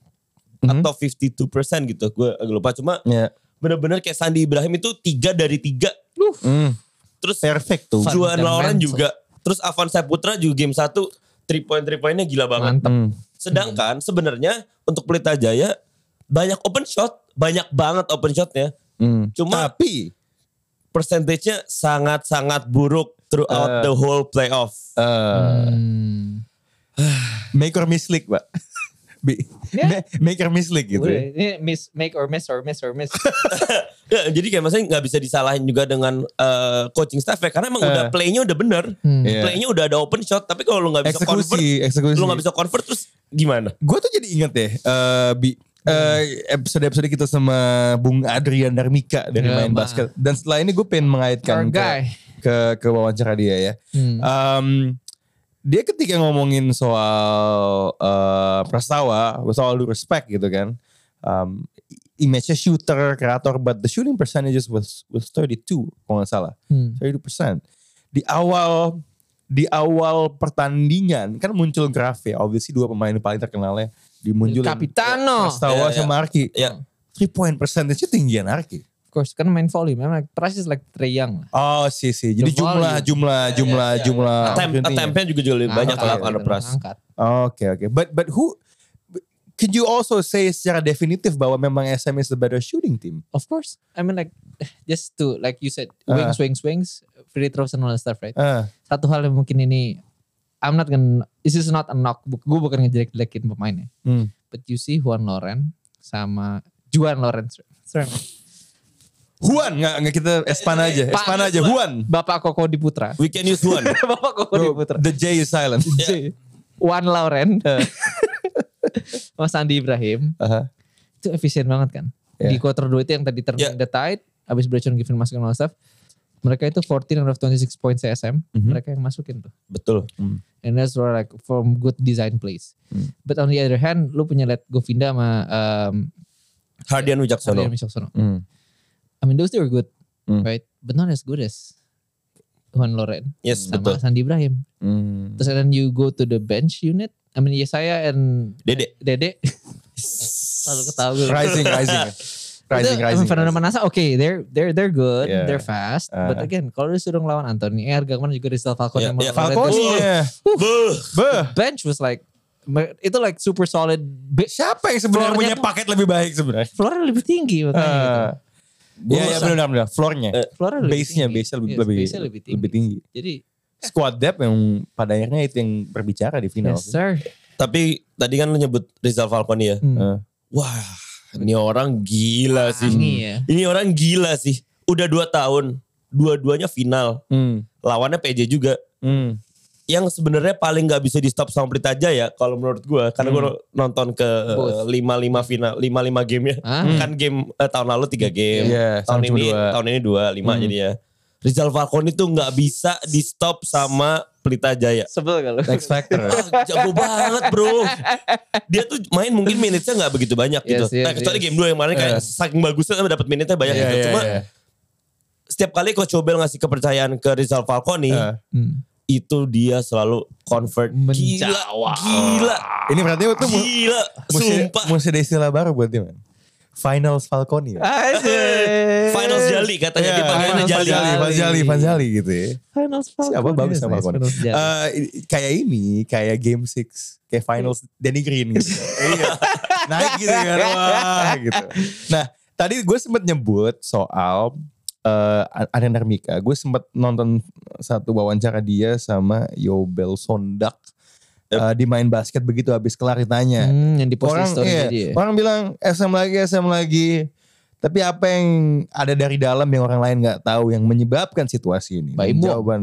Speaker 2: Mhm.
Speaker 3: atau 52% gitu. Gue agak lupa cuma
Speaker 2: Ya.
Speaker 3: bener-bener kayak Sandi Ibrahim itu tiga dari tiga.
Speaker 2: Hmm,
Speaker 3: Terus
Speaker 2: perfect tuh.
Speaker 4: Fun.
Speaker 3: Juan Lauren
Speaker 4: Fundamental.
Speaker 3: juga. Terus Avan Saputra juga game 1 3 point 3 poinnya gila banget.
Speaker 4: mantap
Speaker 2: Hmm.
Speaker 3: Sedangkan sebenarnya untuk Pelita Jaya banyak open shot, banyak banget open shotnya.
Speaker 2: hmm.
Speaker 3: Cuma
Speaker 2: tapi
Speaker 3: persentasenya sangat-sangat buruk
Speaker 2: Eh.
Speaker 3: throughout the whole playoff.
Speaker 2: eh
Speaker 3: Uh,
Speaker 4: Hmm.
Speaker 2: make or miss league, Pak. (laughs) Bi-
Speaker 4: Ya.
Speaker 2: ma- make or miss league gitu.
Speaker 4: Udah,
Speaker 2: Ya.
Speaker 4: ini miss make or miss or miss or miss
Speaker 3: Ya, jadi kayak maksudnya nggak bisa disalahin juga dengan eh, coaching staff ya karena emang
Speaker 2: Eh.
Speaker 3: udah playnya udah bener,
Speaker 4: Hmm.
Speaker 2: Iya.
Speaker 3: playnya udah ada open shot, tapi kalau lu nggak bisa convert,
Speaker 2: Eksekusi, eksekusi.
Speaker 3: lu nggak bisa convert terus gimana?
Speaker 2: Gue tuh jadi inget deh, eh, Bi, eh, episode-episode kita sama Bung Adrian Darmika dari
Speaker 3: Iya,
Speaker 4: Ya,
Speaker 2: main
Speaker 4: Ma.
Speaker 2: basket. Dan setelah ini gue pengen mengaitkan ke,
Speaker 4: Our guy.
Speaker 2: ke ke wawancara dia ya.
Speaker 4: (laughs) Hmm.
Speaker 2: Em, dia ketika ngomongin soal eh, prastawa, soal due respect gitu kan. Em, image-nya shooter, kreator, but the shooting percentages was was 32 kalau nggak salah.
Speaker 4: Hmm.
Speaker 2: 30%. Di awal di awal pertandingan kan muncul graf ya, obviously dua pemain paling terkenalnya dimunculin.
Speaker 4: Capitano.
Speaker 2: Prastawa
Speaker 3: Ya, ya.
Speaker 2: sama Arki.
Speaker 3: Ya.
Speaker 2: 3 point percentage-nya tinggian Arki.
Speaker 4: of course kan main volley memang like, Trash is like Trae Young lah
Speaker 2: Oh sih sih. Jadi
Speaker 4: The
Speaker 2: jumlah,
Speaker 4: volume.
Speaker 2: jumlah, jumlah,
Speaker 3: ya.
Speaker 2: jumlah.
Speaker 3: Attempt,
Speaker 2: opportunity-nya.
Speaker 3: attemptnya juga juga lebih banyak
Speaker 4: Angkat,
Speaker 3: kalau ada
Speaker 4: gitu,
Speaker 3: pras.
Speaker 4: angkat.
Speaker 2: Oke oke. But but who Could you also say secara definitif bahwa memang SM is the better shooting team?
Speaker 4: of course I mean like (laughs) just to like you said wings wings wings free throws and all that stuff right
Speaker 2: Ah,
Speaker 4: satu hal yang mungkin ini I'm not gonna this is not a knock gue bukan ngejelek-jelekin pemainnya
Speaker 2: hmm.
Speaker 4: but you see Juan Loren sama Juan Loren. Sorry.
Speaker 2: Juan nggak nggak kita Espana aja,
Speaker 4: Eh, Pak,
Speaker 2: Espana aja Juan.
Speaker 4: Bapak Koko di Putra.
Speaker 3: We can use one.
Speaker 4: Bapak Koko di
Speaker 2: Bro,
Speaker 4: Putra.
Speaker 2: the J is silent.
Speaker 4: Juan Loren. (laughs) Mas Andi Ibrahim.
Speaker 2: (laughs) Aha.
Speaker 4: Itu efisien banget kan.
Speaker 2: Yeah.
Speaker 4: Di quarter 2 itu yang tadi termain
Speaker 3: Yeah.
Speaker 4: the tide. Abis Brechon Given masukin all stuff. Mereka itu 14 out of 26 points CSM. Mereka yang masukin tuh.
Speaker 3: Betul.
Speaker 4: And that's where like from good design plays.
Speaker 2: Hmm.
Speaker 4: But on the other hand, lu punya let Govinda sama um,
Speaker 3: Hardian
Speaker 4: Adrian
Speaker 3: Wijaksono.
Speaker 4: Wicaksono.
Speaker 2: Hmm.
Speaker 4: I mean those two are good,
Speaker 2: Hmm.
Speaker 4: right? But not as good as Juan Loren
Speaker 3: Yes,
Speaker 4: sama
Speaker 3: betul.
Speaker 4: Sandi Ibrahim.
Speaker 2: Hmm.
Speaker 4: Terus and then you go to the bench unit. I mean Yesaya and
Speaker 3: Dede.
Speaker 2: (laughs)
Speaker 4: Dede selalu ketawa gue.
Speaker 2: rising, rising, rising,
Speaker 4: Itu, I
Speaker 2: rising.
Speaker 4: mean, Fernando Manasa, oke, okay, they're they're they're good,
Speaker 2: Yeah.
Speaker 4: they're fast,
Speaker 2: Ah.
Speaker 4: but again, kalau disuruh ngelawan Anthony Erga kemarin juga Rizal Falcone,
Speaker 3: Yeah,
Speaker 4: sama
Speaker 3: yeah.
Speaker 4: Loren,
Speaker 2: Falcone
Speaker 4: terus
Speaker 2: ya.
Speaker 3: Beuh.
Speaker 2: Beuh.
Speaker 4: bench was like mer- itu like super solid. Be-
Speaker 2: Siapa yang sebenarnya
Speaker 4: Floornya
Speaker 2: punya
Speaker 4: tuh-
Speaker 2: paket lebih baik sebenarnya?
Speaker 4: Flora lebih tinggi makanya.
Speaker 2: Ah.
Speaker 3: Gua
Speaker 2: Iya, iya
Speaker 3: rasa-
Speaker 2: benar benar floornya.
Speaker 3: Eh,
Speaker 4: gitu. Flora lebih
Speaker 2: Base-nya,
Speaker 4: tinggi.
Speaker 2: base-nya lebih,
Speaker 4: Yes,
Speaker 2: lebih,
Speaker 4: base-nya
Speaker 2: lebih
Speaker 4: lebih tinggi.
Speaker 2: tinggi.
Speaker 4: Jadi,
Speaker 2: Squad depth yang pada akhirnya itu yang berbicara di final.
Speaker 4: yes sir.
Speaker 3: Tapi tadi kan lu nyebut Rizal Falcone ya.
Speaker 4: Hmm.
Speaker 2: Eh.
Speaker 3: Wah, ini orang
Speaker 2: Nah,
Speaker 3: gila sih.
Speaker 4: Ini ya.
Speaker 3: Ini orang gila sih. Udah dua tahun, dua-duanya final.
Speaker 2: Hmm,
Speaker 3: Lawannya PJ juga. Yang sebenarnya paling nggak bisa di stop sama Pelita Jaya kalau menurut gua karena gua
Speaker 2: Hmm.
Speaker 3: nonton ke
Speaker 4: Both.
Speaker 3: lima lima final, lima lima game ya. (laughs)
Speaker 4: Ah.
Speaker 2: Hmm.
Speaker 3: Kan game eh, tahun lalu tiga game.
Speaker 2: Iya,
Speaker 3: tahun
Speaker 2: sekarang cuma
Speaker 3: ini
Speaker 2: dua. Hmm.
Speaker 3: tahun ini dua lima jadi ya. Rizal Falcone tuh nggak bisa di stop sama Pelita Jaya.
Speaker 2: (laughs)
Speaker 4: Sebel kalau.
Speaker 2: X Factor.
Speaker 3: Ah, jago banget bro. Dia tuh main mungkin minutnya nggak begitu banyak gitu.
Speaker 4: Yes, yes,
Speaker 3: Nah, kecuali
Speaker 4: yes.
Speaker 3: game 2 yang kemarin kayak
Speaker 2: Yes. Eh.
Speaker 3: saking bagusnya tapi dapat minutnya (laughs) banyak
Speaker 2: Iya,
Speaker 3: gitu.
Speaker 2: iya,
Speaker 3: Cuma
Speaker 2: iya.
Speaker 3: setiap kali Coach Obel ngasih kepercayaan ke Rizal Falcone,
Speaker 2: Eh,
Speaker 4: Hmm.
Speaker 3: itu dia selalu convert. Gila,
Speaker 4: Mencawa.
Speaker 3: gila,
Speaker 2: Ini berarti itu mu-
Speaker 3: gila,
Speaker 2: mesti,
Speaker 3: sumpah.
Speaker 2: mesti ada istilah baru buat dia, man. Finals Falcone ya. Iya,
Speaker 4: Asik.
Speaker 3: Finals Jali katanya dia panggilannya
Speaker 2: Finals
Speaker 3: Jali.
Speaker 2: Vanjali, Vanjali, Vanjali gitu ya.
Speaker 4: Finals Falcon.
Speaker 2: Siapa bagus sama
Speaker 4: Falcon.
Speaker 2: Falcone? Eh, i- kayak ini, kayak game 6, kayak finals Danny Green gitu. Iya. Naik gitu kan, wah gitu. Nah, tadi gue sempet nyebut soal eh Arena Mika. Gue sempet nonton satu wawancara dia sama Yobel Sondak. eh, di main basket begitu habis kelar ditanya.
Speaker 4: Hmm, yang di
Speaker 2: ya.
Speaker 4: posting
Speaker 2: orang
Speaker 4: story
Speaker 2: iya,
Speaker 4: tadi ya.
Speaker 2: orang bilang SM lagi SM lagi tapi apa yang ada dari dalam yang orang lain nggak tahu yang menyebabkan situasi ini
Speaker 4: Baim Wong.
Speaker 2: jawaban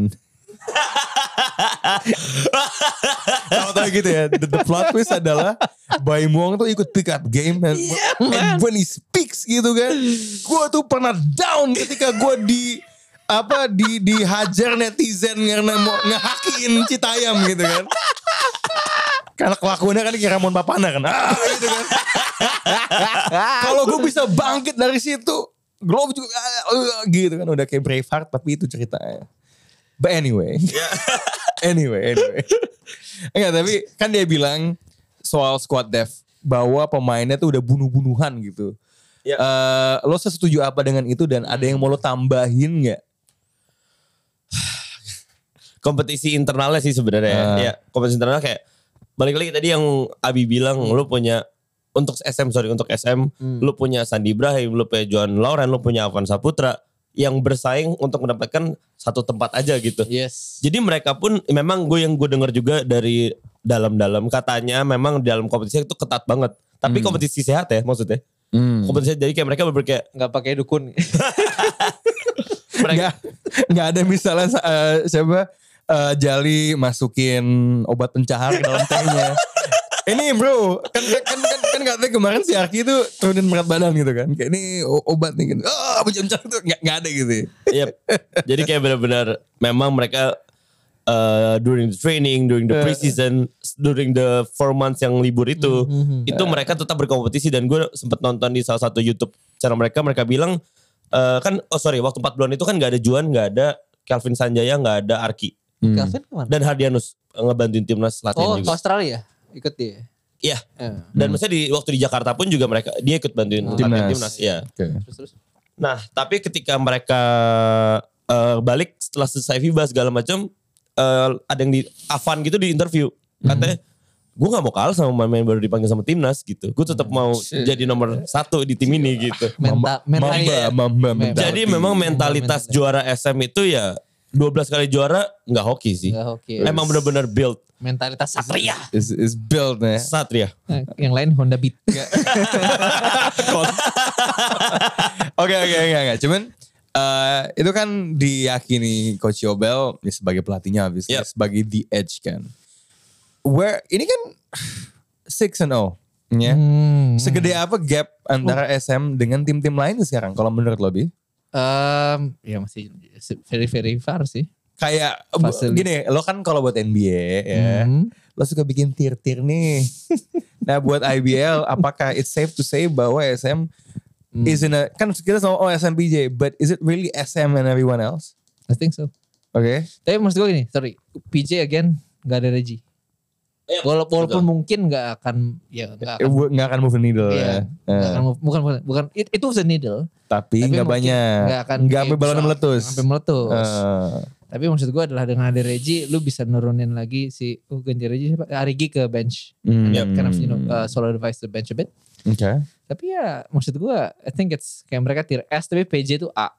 Speaker 2: tahu gitu ya the, the plot twist adalah Baim Wong tuh ikut pick up game and, and when he speaks gitu kan gue tuh pernah down ketika gue di apa di dihajar netizen karena mau ngehakin Citayam gitu kan karena kelakuannya kan kayak Ramon Papana kan. Ah, gitu kan. Kalau gue bisa bangkit dari situ, Globe juga ah, ah, gitu kan udah kayak Braveheart tapi itu ceritanya. But anyway. (laughs) anyway, anyway. Enggak, tapi kan dia bilang soal squad dev bahwa pemainnya tuh udah bunuh-bunuhan gitu.
Speaker 3: Ya.
Speaker 2: Eh, lo setuju apa dengan itu dan ada yang mau lo tambahin nggak?
Speaker 3: kompetisi internalnya sih sebenarnya ya.
Speaker 2: Ah.
Speaker 3: ya. Kompetisi internal kayak balik lagi tadi yang Abi bilang
Speaker 2: Hmm.
Speaker 3: lu punya untuk SM sorry untuk SM lu punya Sandi Ibrahim, lu punya Joan Lauren, lu punya Avan Saputra yang bersaing untuk mendapatkan satu tempat aja gitu.
Speaker 4: Yes.
Speaker 3: Jadi mereka pun memang gue yang gue dengar juga dari dalam-dalam katanya memang dalam kompetisi itu ketat banget. Tapi kompetisi sehat ya maksudnya. Kompetisi jadi kayak mereka berber kayak
Speaker 4: Gak pakai dukun.
Speaker 3: mereka
Speaker 2: nggak nggak ada misalnya eh, siapa eh, Jali masukin obat pencahar ke dalam tehnya. ini bro, kan kan kan, kan katanya kemarin si Arki itu turunin berat badan gitu kan. Kayak ini o- obat nih gitu. Ah, pencahar itu nggak nggak ada gitu.
Speaker 3: Yep. iya. Jadi kayak benar-benar memang mereka uh, during the training, during the preseason, during the four months yang libur itu, itu mereka tetap berkompetisi dan gue sempet nonton di salah satu YouTube channel mereka, mereka bilang uh, kan oh sorry waktu 4 bulan itu kan nggak ada Juan, nggak ada Calvin Sanjaya, nggak ada Arki
Speaker 2: Hmm.
Speaker 4: Calvin kemana?
Speaker 3: dan Hardianus ngebantuin timnas latihan
Speaker 4: Oh, ke
Speaker 3: juga.
Speaker 4: Australia. Ikut dia.
Speaker 3: Iya.
Speaker 4: Eh, Hmm.
Speaker 3: Dan maksudnya di waktu di Jakarta pun juga mereka dia ikut bantuin latihan
Speaker 2: Timnas.
Speaker 3: timnas. Iya.
Speaker 2: Oke.
Speaker 4: Terus terus.
Speaker 3: Nah, tapi ketika mereka eh, balik setelah selesai FIBA segala macam, eh, ada yang di Avan gitu di interview
Speaker 4: Hmm.
Speaker 3: katanya, gue nggak mau kalah sama pemain baru dipanggil sama timnas gitu. Gue tetap
Speaker 4: Hmm.
Speaker 3: mau jadi nomor satu di tim ini gitu.
Speaker 4: Mental, mental.
Speaker 2: Mamba, mamba, mamba.
Speaker 3: Jadi memang mentalitas juara SM itu ya 12 kali juara nggak hoki sih.
Speaker 4: Nggak hoki.
Speaker 3: Emang bener-bener build
Speaker 4: mentalitas satria.
Speaker 2: Is is built nih.
Speaker 3: Satria.
Speaker 4: Eh, Yang lain Honda Beat.
Speaker 2: (laughs) Oke oke oke oke. Cuman eh, itu kan diyakini Coach Yobel ya sebagai pelatihnya habis
Speaker 3: Yep.
Speaker 2: sebagai the edge kan. Where ini kan 6 and 0 ya.
Speaker 4: Hmm.
Speaker 2: Segede apa gap antara SM dengan tim-tim lain sekarang kalau menurut lo Bi?
Speaker 4: Em, ya masih very very far sih.
Speaker 2: Kayak bu-
Speaker 4: Fasil.
Speaker 2: gini, lo kan kalau buat NBA ya,
Speaker 4: Hmm.
Speaker 2: lo suka bikin tier-tier
Speaker 4: (laughs)
Speaker 2: nih. nah buat IBL, apakah it's safe to say bahwa SM
Speaker 4: Hmm.
Speaker 2: is in a, kan kita sama oh SMPJ, but is it really SM and everyone else?
Speaker 4: I think so.
Speaker 2: Oke.
Speaker 4: Tapi maksud gue gini, sorry. PJ again gak ada Reggie.
Speaker 2: Oh,
Speaker 3: Iya,
Speaker 4: Wala-
Speaker 3: betul.
Speaker 4: walaupun mungkin gak akan ya gak
Speaker 2: Eh,
Speaker 4: akan,
Speaker 2: bu- nggak akan move the needle
Speaker 4: iya,
Speaker 2: ya.
Speaker 4: nggak
Speaker 2: Eh,
Speaker 4: akan move- bukan bukan bukan it, itu was a needle.
Speaker 2: tapi
Speaker 4: tapi
Speaker 2: nggak
Speaker 4: mungkin
Speaker 2: banyak.
Speaker 4: nggak akan
Speaker 2: Nggak
Speaker 4: kayak
Speaker 2: sampai balonnya
Speaker 4: bisa-
Speaker 2: meletus.
Speaker 4: Sampai meletus.
Speaker 2: Eh,
Speaker 4: Tapi maksud gue adalah dengan ada Reggie lu bisa nurunin lagi si oh ganti Reggie siapa? Arigi ke bench.
Speaker 2: Hmm.
Speaker 4: And that kind of you know uh, solidifies the bench a bit.
Speaker 2: Oke.
Speaker 4: Tapi ya maksud gue I think it's kayak mereka tier S tapi PJ itu A.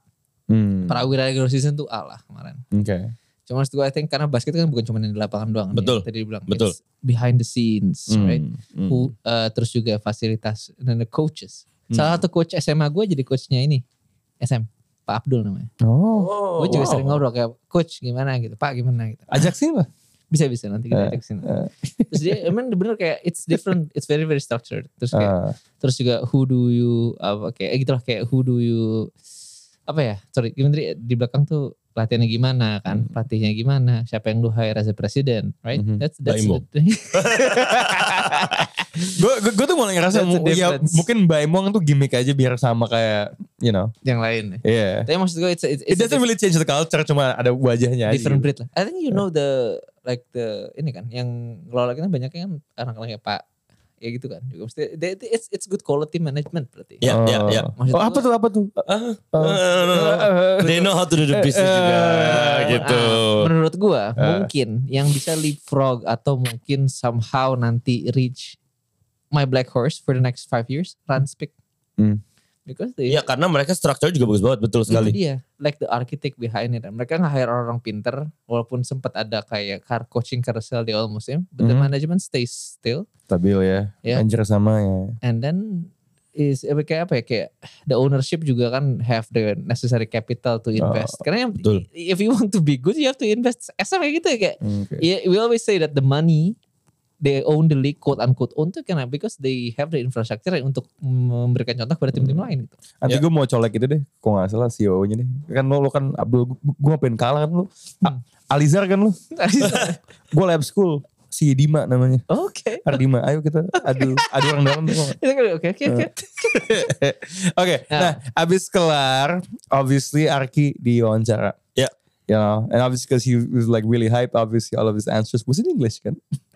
Speaker 2: Hmm,
Speaker 4: Prawira regular season tuh A lah kemarin.
Speaker 2: Oke.
Speaker 4: Cuma maksud gue I think karena basket kan bukan cuma yang di lapangan doang. nih,
Speaker 3: Betul,
Speaker 4: yang Tadi dibilang
Speaker 3: betul.
Speaker 4: it's behind the scenes
Speaker 2: Hmm,
Speaker 4: right.
Speaker 2: hmm.
Speaker 4: Who, uh, terus juga fasilitas dan the coaches. Salah satu coach SMA gue jadi coachnya ini. SM. Pak Abdul namanya.
Speaker 2: Oh.
Speaker 4: gue juga sering ngobrol kayak coach gimana gitu, Pak gimana gitu.
Speaker 2: Ajak sih lah.
Speaker 4: Bisa bisa nanti kita
Speaker 2: Eh,
Speaker 4: ajak sini. Terus dia emang bener kayak it's different, it's very very structured. Terus kayak
Speaker 2: Ah.
Speaker 4: terus juga who do you apa kayak eh, gitulah kayak who do you apa ya sorry gimana Dri? di belakang tuh latihannya
Speaker 2: Hmm.
Speaker 4: gimana kan pelatihnya gimana siapa yang lu hire as a president right
Speaker 2: Mhm.
Speaker 4: that's that's
Speaker 3: Baimo.
Speaker 4: the thing. (laughs)
Speaker 2: Gue gue tuh mulai ngerasa
Speaker 4: That's the
Speaker 2: mu- ya
Speaker 4: difference.
Speaker 2: mungkin Baimong tuh gimmick aja biar sama kayak you know.
Speaker 4: yang lain ya.
Speaker 2: Yeah.
Speaker 4: tapi maksud gue it's, it's,
Speaker 2: It
Speaker 4: it's a
Speaker 2: doesn't really change the culture cuma ada wajahnya aja.
Speaker 4: different
Speaker 2: gitu.
Speaker 4: breed lah I think you know the like the ini kan yang ngelola kita banyak kan orang-orang kayak pak ya gitu kan juga mesti they- they- it's it's good quality management berarti
Speaker 3: Ya, ya,
Speaker 2: Oh.
Speaker 3: ya.
Speaker 4: Maksud
Speaker 2: Oh, apa
Speaker 4: gua-
Speaker 2: tuh apa tuh?
Speaker 3: Oh.
Speaker 2: Oh.
Speaker 3: Eh,
Speaker 4: Eh,
Speaker 3: They know how to do the business juga
Speaker 2: Eh,
Speaker 3: gitu.
Speaker 4: Ah, menurut gua
Speaker 2: Eh.
Speaker 4: mungkin yang bisa leapfrog atau mungkin somehow nanti reach my black horse for the next five years, Ranspik.
Speaker 2: Hmm.
Speaker 4: Because they,
Speaker 3: Iya karena mereka struktur juga bagus banget betul
Speaker 4: itu
Speaker 3: sekali.
Speaker 4: dia, like the architect behind it. Dan Mereka nge-hire orang pinter, walaupun sempat ada kayak car coaching carousel di all musim, but the
Speaker 2: Mhm.
Speaker 4: management stays still.
Speaker 2: Stabil ya.
Speaker 4: Ya.
Speaker 2: Anjir sama ya.
Speaker 4: And then is eh, kayak apa ya kayak the ownership juga kan have the necessary capital to invest. Karena yang,
Speaker 3: betul.
Speaker 4: if you want to be good, you have to invest. Esa kayak gitu ya, kayak
Speaker 2: Iya.
Speaker 4: Yeah, we always say that the money they own the league quote unquote own tuh karena because they have the infrastructure untuk memberikan contoh kepada tim-tim lain
Speaker 2: (laughs)
Speaker 4: gitu.
Speaker 2: Nanti
Speaker 3: Ya.
Speaker 2: gue mau colek itu deh. Kok gak salah CEO-nya deh. Kan lo, lo kan Abdul. Gue ngapain kalah kan lo. A- Alizar kan lo. (laughs) Gue lab school. Si Dima namanya.
Speaker 4: Oke.
Speaker 2: Ardima. Ayo kita adu, adu orang dalam. deh, mau nggak?
Speaker 4: Itu kan, Oke, oke,
Speaker 2: Uh.
Speaker 4: oke.
Speaker 2: Oke. Nah abis kelar. Obviously Arki diwawancara.
Speaker 3: Ya.
Speaker 2: You know, and obviously because he was like really hype, obviously all of his answers was in English kan?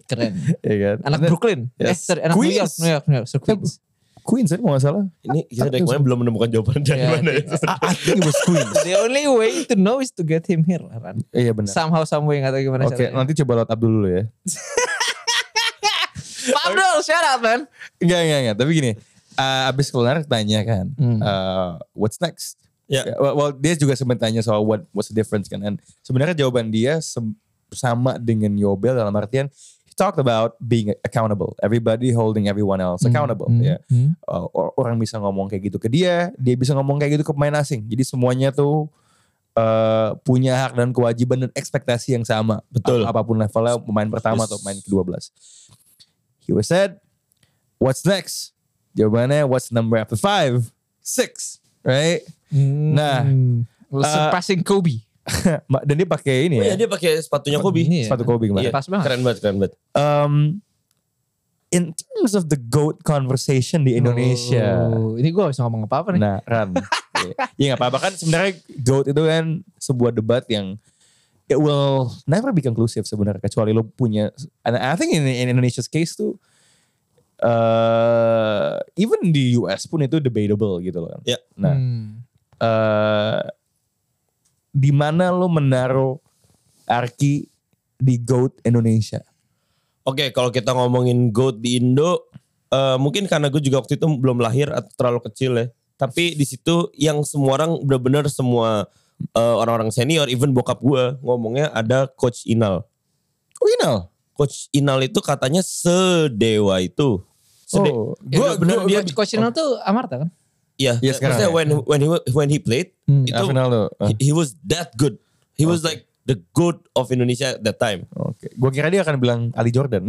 Speaker 4: Keren.
Speaker 2: Iya kan?
Speaker 4: Anak
Speaker 2: And then-
Speaker 4: Brooklyn. Eh,
Speaker 2: Yes.
Speaker 4: sorry, anak New York,
Speaker 2: Queens.
Speaker 4: New York, New York, so Queens.
Speaker 2: Queens kan kalau gak salah.
Speaker 3: Ini kita dari kemarin belum menemukan jawaban dari
Speaker 4: Ya,
Speaker 3: mana.
Speaker 4: I
Speaker 3: ya.
Speaker 2: I think it was Queens.
Speaker 4: The only way to know is to get him here, Ran.
Speaker 2: Iya benar.
Speaker 4: Somehow, some way, nggak tahu gimana
Speaker 2: Oke,
Speaker 4: caranya.
Speaker 2: nanti coba lewat Abdul dulu ya.
Speaker 4: Pak Abdul, shout out, man.
Speaker 2: Enggak, enggak, enggak. Tapi gini, eh, abis kelar tanya kan,
Speaker 4: Hmm.
Speaker 2: eh, what's next?
Speaker 3: Ya.
Speaker 2: Well, well, dia juga sempat tanya soal what what's the difference kan. And sebenarnya jawaban dia sem- sama dengan Yobel dalam artian he talked about being accountable. Everybody holding everyone else accountable.
Speaker 4: Hmm,
Speaker 2: ya.
Speaker 4: hmm.
Speaker 2: Eh, or- orang bisa ngomong kayak gitu ke dia, dia bisa ngomong kayak gitu ke pemain asing. Jadi semuanya tuh eh, punya hak dan kewajiban dan ekspektasi yang sama.
Speaker 3: Betul.
Speaker 2: Ap- Apapun levelnya pemain pertama
Speaker 3: Yes.
Speaker 2: atau pemain ke-12. He was said, what's next? Jawabannya, what's number after five? Six, right? (laughs)
Speaker 4: Hmm.
Speaker 2: Nah,
Speaker 4: surpassing Kobe.
Speaker 2: Ma- dan dia pakai ini
Speaker 3: Oh
Speaker 2: ya,
Speaker 3: ya, dia pakai sepatunya Kobe.
Speaker 4: Ini ya.
Speaker 2: sepatu Kobe kemarin.
Speaker 3: Iya,
Speaker 4: Pas banget.
Speaker 3: Keren banget, keren banget.
Speaker 2: Um, in terms of the GOAT conversation di Indonesia,
Speaker 4: Oh, ini gue gak bisa ngomong apa-apa nih.
Speaker 2: Nah, Ran. Iya. ya nggak apa-apa kan sebenarnya GOAT itu kan sebuah debat yang it will never be conclusive sebenarnya kecuali lo punya and I think in, in Indonesia's case tuh eh even di US pun itu debatable gitu loh kan.
Speaker 3: Ya.
Speaker 2: Nah,
Speaker 4: Hmm.
Speaker 2: eh di mana lo menaruh Arki di GOAT Indonesia?
Speaker 3: Oke, kalau kita ngomongin GOAT di Indo, eh, mungkin karena gue juga waktu itu belum lahir atau terlalu kecil ya. Tapi di situ yang semua orang benar-benar semua eh, orang-orang senior, even bokap gue ngomongnya ada Coach Inal.
Speaker 2: Oh, you know.
Speaker 3: Coach Inal itu katanya sedewa itu. Sede-
Speaker 2: Oh,
Speaker 3: Ya,
Speaker 2: gua-
Speaker 3: bener,
Speaker 2: gua-
Speaker 3: dia-
Speaker 4: Coach- Coach Inal tuh Amarta kan?
Speaker 3: Iya,
Speaker 2: Iya, sekarang ya.
Speaker 3: maksudnya when when he when he played,
Speaker 4: Hmm.
Speaker 3: itu
Speaker 2: Arsenal tuh. Ah,
Speaker 3: he, he was that good. He was like the GOAT of Indonesia at that time.
Speaker 2: Oke. Gua kira dia akan bilang Ali Jordan.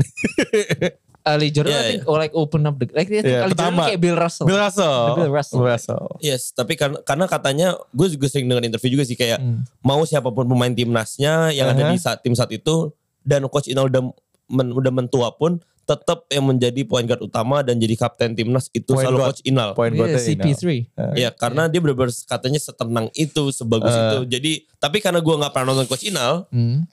Speaker 4: Ali Jordan
Speaker 3: Yeah,
Speaker 4: I think, oh, like open up the like dia
Speaker 2: Yeah,
Speaker 4: Ali
Speaker 2: pertama.
Speaker 4: Jordan kayak Bill Russell.
Speaker 2: Bill Russell.
Speaker 4: Bill Russell.
Speaker 3: Yes, tapi karena, karena katanya gue juga sering dengar interview juga sih kayak
Speaker 4: Hmm.
Speaker 3: mau siapapun pemain timnasnya yang ada
Speaker 2: Aha.
Speaker 3: di saat tim saat itu dan coach Inal udah men- udah mentua pun tetap yang menjadi point guard utama dan jadi kapten timnas itu
Speaker 2: Point
Speaker 3: selalu
Speaker 2: guard.
Speaker 3: coach Inal.
Speaker 2: Poin
Speaker 4: Dia
Speaker 2: gue tuh ini.
Speaker 4: CP3.
Speaker 3: Iya, karena dia benar katanya setenang itu, sebagus
Speaker 2: Eh.
Speaker 3: itu. Jadi, tapi karena gue nggak pernah nonton coach Inal,
Speaker 4: Hmm.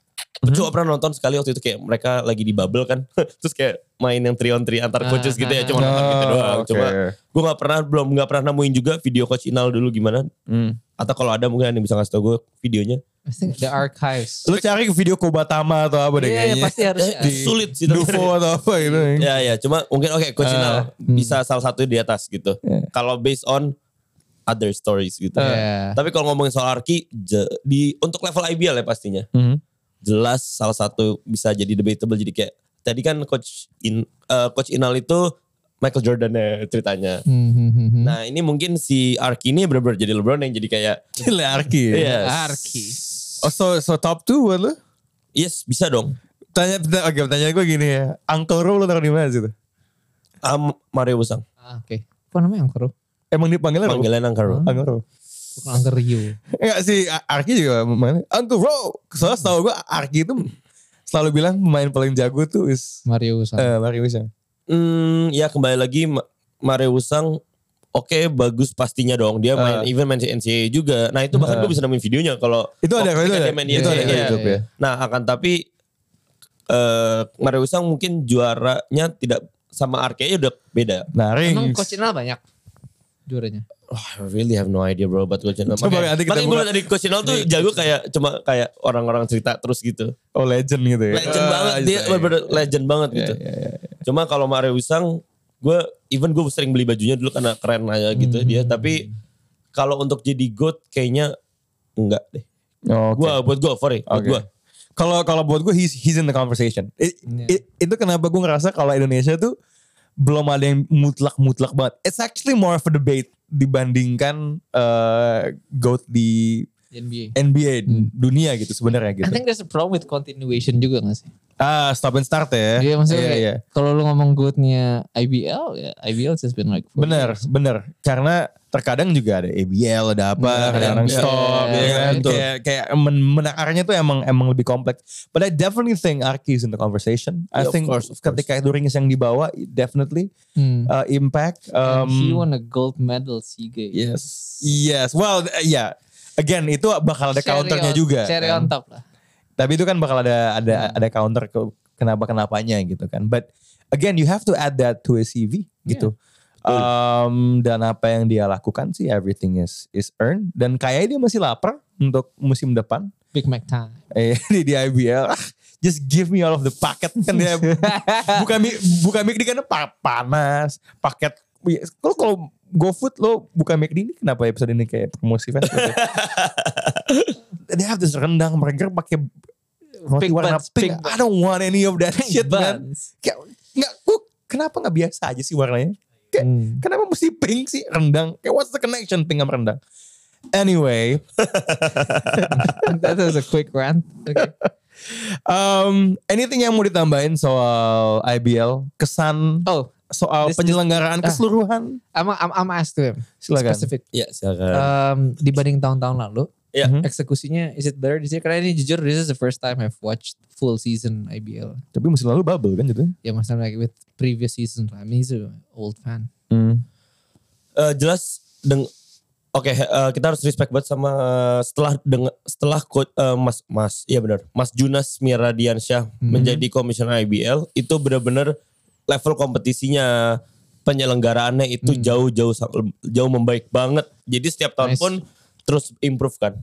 Speaker 3: cuma pernah nonton sekali waktu itu kayak mereka lagi di bubble kan, (laughs) terus kayak main yang three on three antar
Speaker 4: Ah,
Speaker 3: coaches gitu ya, cuma
Speaker 4: ah,
Speaker 3: nonton gitu
Speaker 2: ah.
Speaker 3: doang.
Speaker 2: Oke.
Speaker 3: Cuma gue nggak pernah belum nggak pernah nemuin juga video coach Inal dulu gimana
Speaker 2: Hmm.
Speaker 3: atau kalau ada mungkin ada yang bisa ngasih tau gue videonya
Speaker 4: I think the archives.
Speaker 2: Lu cari video Kobatama atau apa deh
Speaker 4: Iya,
Speaker 2: kayaknya.
Speaker 4: pasti harus
Speaker 3: Eh,
Speaker 4: ada.
Speaker 2: (laughs)
Speaker 3: sulit sih tapi-
Speaker 2: Dufo atau apa gitu.
Speaker 3: ya ya cuma mungkin oke
Speaker 4: Ah,
Speaker 3: coach
Speaker 2: Eh,
Speaker 3: Inal
Speaker 4: hmm.
Speaker 3: bisa salah satu di atas gitu
Speaker 2: Iya.
Speaker 3: kalau based on other stories
Speaker 2: Nah.
Speaker 3: gitu
Speaker 4: Iya.
Speaker 3: tapi kalau ngomongin soal Arki je- di untuk level IBL ya pastinya
Speaker 2: Mhm.
Speaker 3: jelas salah satu bisa jadi debatable jadi kayak tadi kan coach in eh, coach Inal itu Michael Jordan ya ceritanya.
Speaker 4: Hmm, hmm, hmm, hmm.
Speaker 3: Nah ini mungkin si Arki ini bener-bener jadi LeBron yang jadi kayak
Speaker 2: Arki. ya?
Speaker 3: Iya.
Speaker 4: Arki.
Speaker 2: Oh, so, so top 2 buat lu?
Speaker 3: yes bisa dong.
Speaker 2: Tanya, tanya- oke pertanyaan gue gini ya. Uncle Rob lu taruh di mana situ?
Speaker 3: Am Mario Busang.
Speaker 4: Ah, Oke. Apa namanya Angkoro?
Speaker 2: Emang dipanggilnya Rob?
Speaker 3: Panggilan Angkaro.
Speaker 2: Uncle Rob.
Speaker 4: Bukan Angker Rio.
Speaker 2: Enggak sih, Ar- Arki juga mana? Uncle Rob. Soalnya setahu gue Arki itu selalu bilang pemain paling jago tuh is eh
Speaker 4: Mario Usang.
Speaker 2: Mario Wilson.
Speaker 3: Hmm, ya kembali lagi Ma- Mario Usang oke bagus pastinya dong dia main
Speaker 2: Eh.
Speaker 3: even main NCAA juga. Nah itu bahkan
Speaker 2: Eh.
Speaker 3: gue bisa nemuin videonya kalau
Speaker 2: Itu ada,
Speaker 3: waktu
Speaker 2: itu
Speaker 3: ketika
Speaker 2: ada.
Speaker 3: dia main di
Speaker 2: Itu ada
Speaker 3: NCAA.
Speaker 2: di YouTube ya.
Speaker 3: Nah akan tapi eh Mario Usang mungkin juaranya tidak sama Arkea udah beda.
Speaker 2: Nah,
Speaker 4: Emang
Speaker 2: Rings.
Speaker 4: Coach Inal banyak juaranya.
Speaker 3: Oh, I really have no idea bro about Coach Iya. Inal.
Speaker 2: Coba
Speaker 3: Makanya,
Speaker 2: nanti kita
Speaker 3: makanya gue
Speaker 2: buka.
Speaker 3: liat dari Coach Inal tuh jago kayak cuma kayak orang-orang cerita terus gitu.
Speaker 2: Oh, legend gitu ya.
Speaker 3: Legend
Speaker 2: Ah,
Speaker 3: banget
Speaker 2: iya,
Speaker 3: dia
Speaker 2: iya.
Speaker 3: bener-bener legend banget gitu.
Speaker 2: Iya, iya, iya.
Speaker 3: Cuma kalau Mario Usang, gue even gue sering beli bajunya dulu karena keren aja gitu dia. Tapi kalau untuk jadi goat kayaknya enggak deh.
Speaker 2: Oke.
Speaker 3: Gue buat gue sorry, buat
Speaker 2: Oke.
Speaker 3: gue.
Speaker 2: Kalau kalau buat gue he's, he's in the conversation. I-
Speaker 4: Iya.
Speaker 2: i- itu kenapa gue ngerasa kalau Indonesia tuh belum ada yang mutlak-mutlak banget. It's actually more of a debate dibandingkan eh GOAT di
Speaker 4: Di NBA.
Speaker 2: NBA
Speaker 4: Hmm.
Speaker 2: dunia gitu sebenarnya
Speaker 4: I
Speaker 2: Iya, gitu.
Speaker 4: think there's a problem with continuation juga gak sih?
Speaker 2: Ah, stop and start ya.
Speaker 4: Iya
Speaker 2: Iya,
Speaker 4: maksudnya kayak
Speaker 2: iya.
Speaker 4: kalau lu ngomong goatnya IBL, ya IBL just been like four
Speaker 2: Bener,
Speaker 4: years.
Speaker 2: bener. Karena terkadang juga ada ABL, ada apa,
Speaker 4: Bener,
Speaker 2: kadang-kadang
Speaker 4: iya,
Speaker 2: stop, ya
Speaker 4: iya,
Speaker 2: kan?
Speaker 3: betul.
Speaker 2: Kayak, kayak men- menakarnya tuh emang emang lebih kompleks. But I definitely think Arki is in the conversation. I
Speaker 3: Yeah, of
Speaker 2: think
Speaker 3: course, of course.
Speaker 2: ketika itu rings yang dibawa, definitely
Speaker 4: Hmm.
Speaker 2: uh, impact.
Speaker 4: And he
Speaker 2: Um,
Speaker 4: won a gold medal sih guys.
Speaker 2: yes, yes. Well, uh, yeah. Again, itu
Speaker 4: Oh,
Speaker 2: bakal ada counternya juga.
Speaker 4: Cherry
Speaker 2: kan.
Speaker 4: on top lah.
Speaker 2: Tapi itu kan bakal ada ada
Speaker 4: Hmm.
Speaker 2: ada counter ke kenapa kenapanya gitu kan. But again you have to add that to a CV gitu.
Speaker 3: Betul.
Speaker 2: Um, dan apa yang dia lakukan sih everything is is earned dan kayaknya dia masih lapar untuk musim depan
Speaker 4: Big Mac time.
Speaker 2: eh, (laughs) di, di IBL. Ah, Just give me all of the paket kan
Speaker 4: (laughs)
Speaker 2: dia bukan mi- bukan McD kan pa- panas paket. Iya, Kalau kalau GoFood lo buka McD ini kenapa episode ini kayak promosi fast
Speaker 4: (laughs)
Speaker 2: food ya? They have this rendang burger pakai roti
Speaker 4: Pink
Speaker 2: warna
Speaker 4: buns,
Speaker 2: pink.
Speaker 4: pink buns.
Speaker 2: I don't want any of that
Speaker 4: Big
Speaker 2: shit man.
Speaker 4: buns.
Speaker 2: Kayak nggak kok kenapa nggak biasa aja sih warnanya? Kayak,
Speaker 4: Hmm.
Speaker 2: Kenapa mesti pink sih rendang? Kayak what's the connection pink sama rendang? Anyway,
Speaker 4: That was a quick rant. (laughs) Okay.
Speaker 2: um, anything yang mau ditambahin soal IBL, kesan
Speaker 4: Oh,
Speaker 2: soal
Speaker 4: This- this-
Speaker 2: penyelenggaraan
Speaker 4: ah.
Speaker 2: keseluruhan?
Speaker 4: I'm I'm I'm asked to him.
Speaker 2: Silakan.
Speaker 4: Specific.
Speaker 3: Iya silakan.
Speaker 4: Um, dibanding tahun-tahun lalu,
Speaker 3: Iya.
Speaker 2: Mhm.
Speaker 4: eksekusinya is it better this year? Karena ini jujur this is the first time I've watched full season IBL.
Speaker 2: Tapi musim lalu bubble kan gitu.
Speaker 4: Ya masalah like with previous season lah. I mean, he's an old fan.
Speaker 3: Eh, jelas deng Oke, eh, kita harus respect banget sama eh, setelah deng setelah coach eh, Mas Mas, iya benar, Mas Junas Miradiansyah menjadi komisioner IBL itu benar-benar level kompetisinya penyelenggaraannya itu jauh-jauh jauh membaik banget. Jadi setiap tahun
Speaker 4: Nice.
Speaker 3: pun terus improve kan.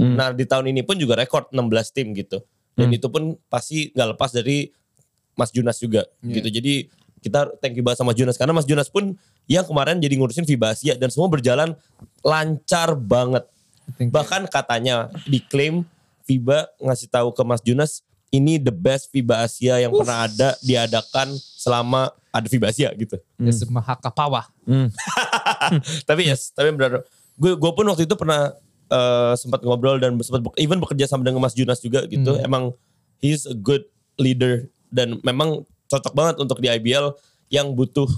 Speaker 3: Nah, di tahun ini pun juga rekor 16 tim gitu. Dan itu pun pasti nggak lepas dari Mas Junas juga gitu. Jadi kita thank you banget sama Mas Junas karena Mas Junas pun yang kemarin jadi ngurusin FIBA Asia dan semua berjalan lancar banget.
Speaker 4: I think
Speaker 3: Bahkan katanya diklaim FIBA ngasih tahu ke Mas Junas ini the best FIBA Asia yang pernah ada diadakan selama ada FIBA Asia gitu.
Speaker 4: Yes,
Speaker 2: Hmm.
Speaker 4: Mahaka Pawa.
Speaker 3: tapi yes, tapi benar. Gue gue pun waktu itu pernah eh, sempat ngobrol dan sempat be- even bekerja sama dengan Mas Junas juga gitu.
Speaker 2: Hmm.
Speaker 3: Emang he's a good leader dan memang cocok banget untuk di IBL yang butuh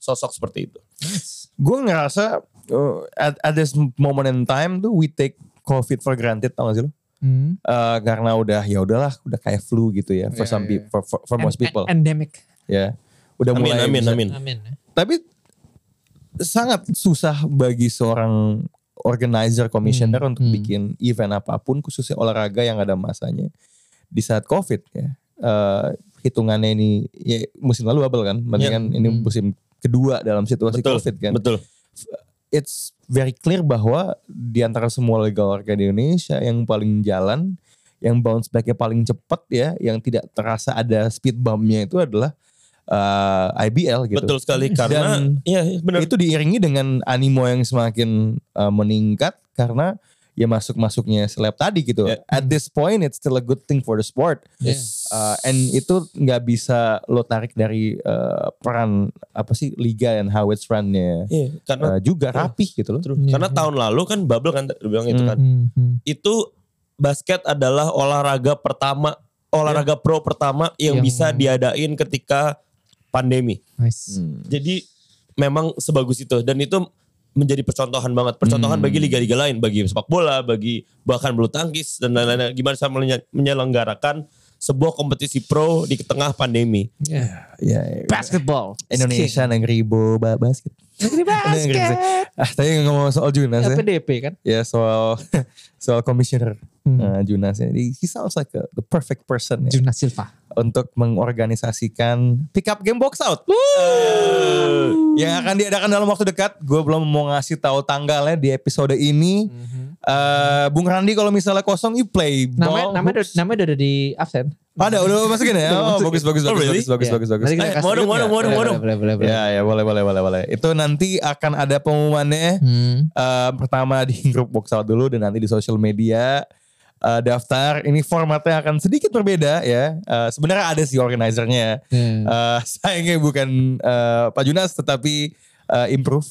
Speaker 3: sosok seperti itu.
Speaker 2: Gue ngerasa uh, at, at this moment in time tuh we take COVID for granted tau gak sih lo?
Speaker 4: Hmm.
Speaker 2: Eh, karena udah ya udahlah udah kayak flu gitu ya for
Speaker 4: Yeah,
Speaker 2: some
Speaker 4: yeah,
Speaker 2: people for, for, for most
Speaker 4: An-
Speaker 2: people
Speaker 4: an- Endemic.
Speaker 2: ya udah
Speaker 3: Amin
Speaker 2: mulai
Speaker 3: amin
Speaker 2: bisa-
Speaker 3: amin.
Speaker 4: Amin. eh?
Speaker 2: tapi sangat susah bagi seorang organizer commissioner
Speaker 4: Hmm,
Speaker 2: untuk
Speaker 4: hmm.
Speaker 2: bikin event apapun khususnya olahraga yang ada masanya di saat covid ya Eh, hitungannya ini ya, musim lalu bubble kan berarti
Speaker 3: Yeah.
Speaker 2: kan ini
Speaker 4: Hmm.
Speaker 2: musim kedua dalam situasi
Speaker 3: Betul.
Speaker 2: covid kan
Speaker 3: Betul.
Speaker 2: it's very clear bahwa di antara semua legal organ di Indonesia yang paling jalan, yang bounce back-nya paling cepat ya, yang tidak terasa ada speed bump-nya itu adalah eh, IBL gitu.
Speaker 3: Betul sekali karena
Speaker 2: Dan
Speaker 3: iya iya, benar.
Speaker 2: Itu diiringi dengan animo yang semakin eh, meningkat karena ya masuk masuknya seleb tadi gitu.
Speaker 4: Ya.
Speaker 3: Yeah.
Speaker 2: At this point it's still a good thing for the sport.
Speaker 4: Yes.
Speaker 2: Uh, and itu nggak bisa lo tarik dari uh, peran apa sih liga and how it's runnya
Speaker 3: Iya,
Speaker 2: uh,
Speaker 3: karena
Speaker 2: juga rapih gitu loh.
Speaker 3: True.
Speaker 4: Iya,
Speaker 3: Karena
Speaker 4: iya.
Speaker 3: tahun lalu kan bubble kan lu bilang
Speaker 2: Hmm,
Speaker 3: itu kan.
Speaker 4: Mhm.
Speaker 3: Itu basket adalah olahraga pertama, olahraga pro pertama yang,
Speaker 4: Yang-
Speaker 3: bisa diadain ketika pandemi.
Speaker 4: Nice.
Speaker 2: Hmm.
Speaker 3: Jadi memang sebagus itu dan itu menjadi percontohan banget, percontohan bagi liga-liga lain, bagi sepak bola, bagi bahkan bulu tangkis dan lain-lain. Gimana cara menye- menyelenggarakan sebuah kompetisi pro di tengah pandemi.
Speaker 4: Yeah.
Speaker 2: Ya,
Speaker 4: Basketball.
Speaker 2: Indonesia negeri boba basket.
Speaker 4: Negeri
Speaker 2: (laughs) Negeri
Speaker 4: basket.
Speaker 2: basket. Ah, tadi ngomong soal Junas ya.
Speaker 4: PDP kan?
Speaker 2: Ya soal (laughs) soal komisioner
Speaker 4: Hmm.
Speaker 2: uh, Junas ya. He sounds like a- the perfect person ya,
Speaker 4: Juna Silva.
Speaker 2: untuk mengorganisasikan pick up game box out. Eh, yang akan diadakan dalam waktu dekat. Gue belum mau ngasih tahu tanggalnya di episode ini.
Speaker 4: Mm-hmm.
Speaker 2: Eh, Bung Randi kalau misalnya kosong, you play ball.
Speaker 4: Namanya namanya udah, namanya udah ada di absen.
Speaker 2: Ada, udah masukin ya.
Speaker 4: Udah
Speaker 2: Oh,
Speaker 4: masukin.
Speaker 2: bagus, bagus,
Speaker 3: Oh,
Speaker 2: bagus,
Speaker 3: really?
Speaker 2: bagus, bagus,
Speaker 4: Iya.
Speaker 2: bagus, bagus.
Speaker 4: Nanti kita
Speaker 2: Eh,
Speaker 4: kasih
Speaker 3: modem,
Speaker 2: lihat
Speaker 3: modem,
Speaker 2: nggak?
Speaker 3: modem, modem.
Speaker 4: Boleh, boleh, boleh.
Speaker 2: Ya, ya boleh, boleh, boleh, boleh. Itu nanti akan ada pengumumannya.
Speaker 4: Hmm.
Speaker 2: Eh, pertama di grup box out dulu dan nanti di sosial media eh, daftar. Ini formatnya akan sedikit berbeda ya. Eh, Sebenarnya ada sih organisernya.
Speaker 4: Yeah.
Speaker 2: (laughs) Eh, sayangnya bukan eh, Pak Junas tetapi eh, improve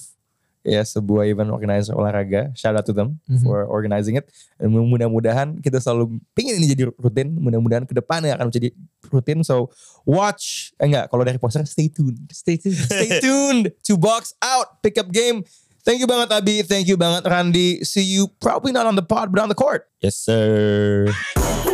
Speaker 2: ya sebuah event organizer olahraga shout out to them
Speaker 4: Mhm.
Speaker 2: for organizing it Dan mudah-mudahan kita selalu pingin ini jadi rutin mudah-mudahan kedepannya akan menjadi rutin so watch eh, enggak kalau dari poster stay tuned
Speaker 4: Stay tuned.
Speaker 2: (laughs) stay tuned to box out pickup game thank you banget Abi thank you banget Randy see you probably not on the pod but on the court
Speaker 3: Yes sir.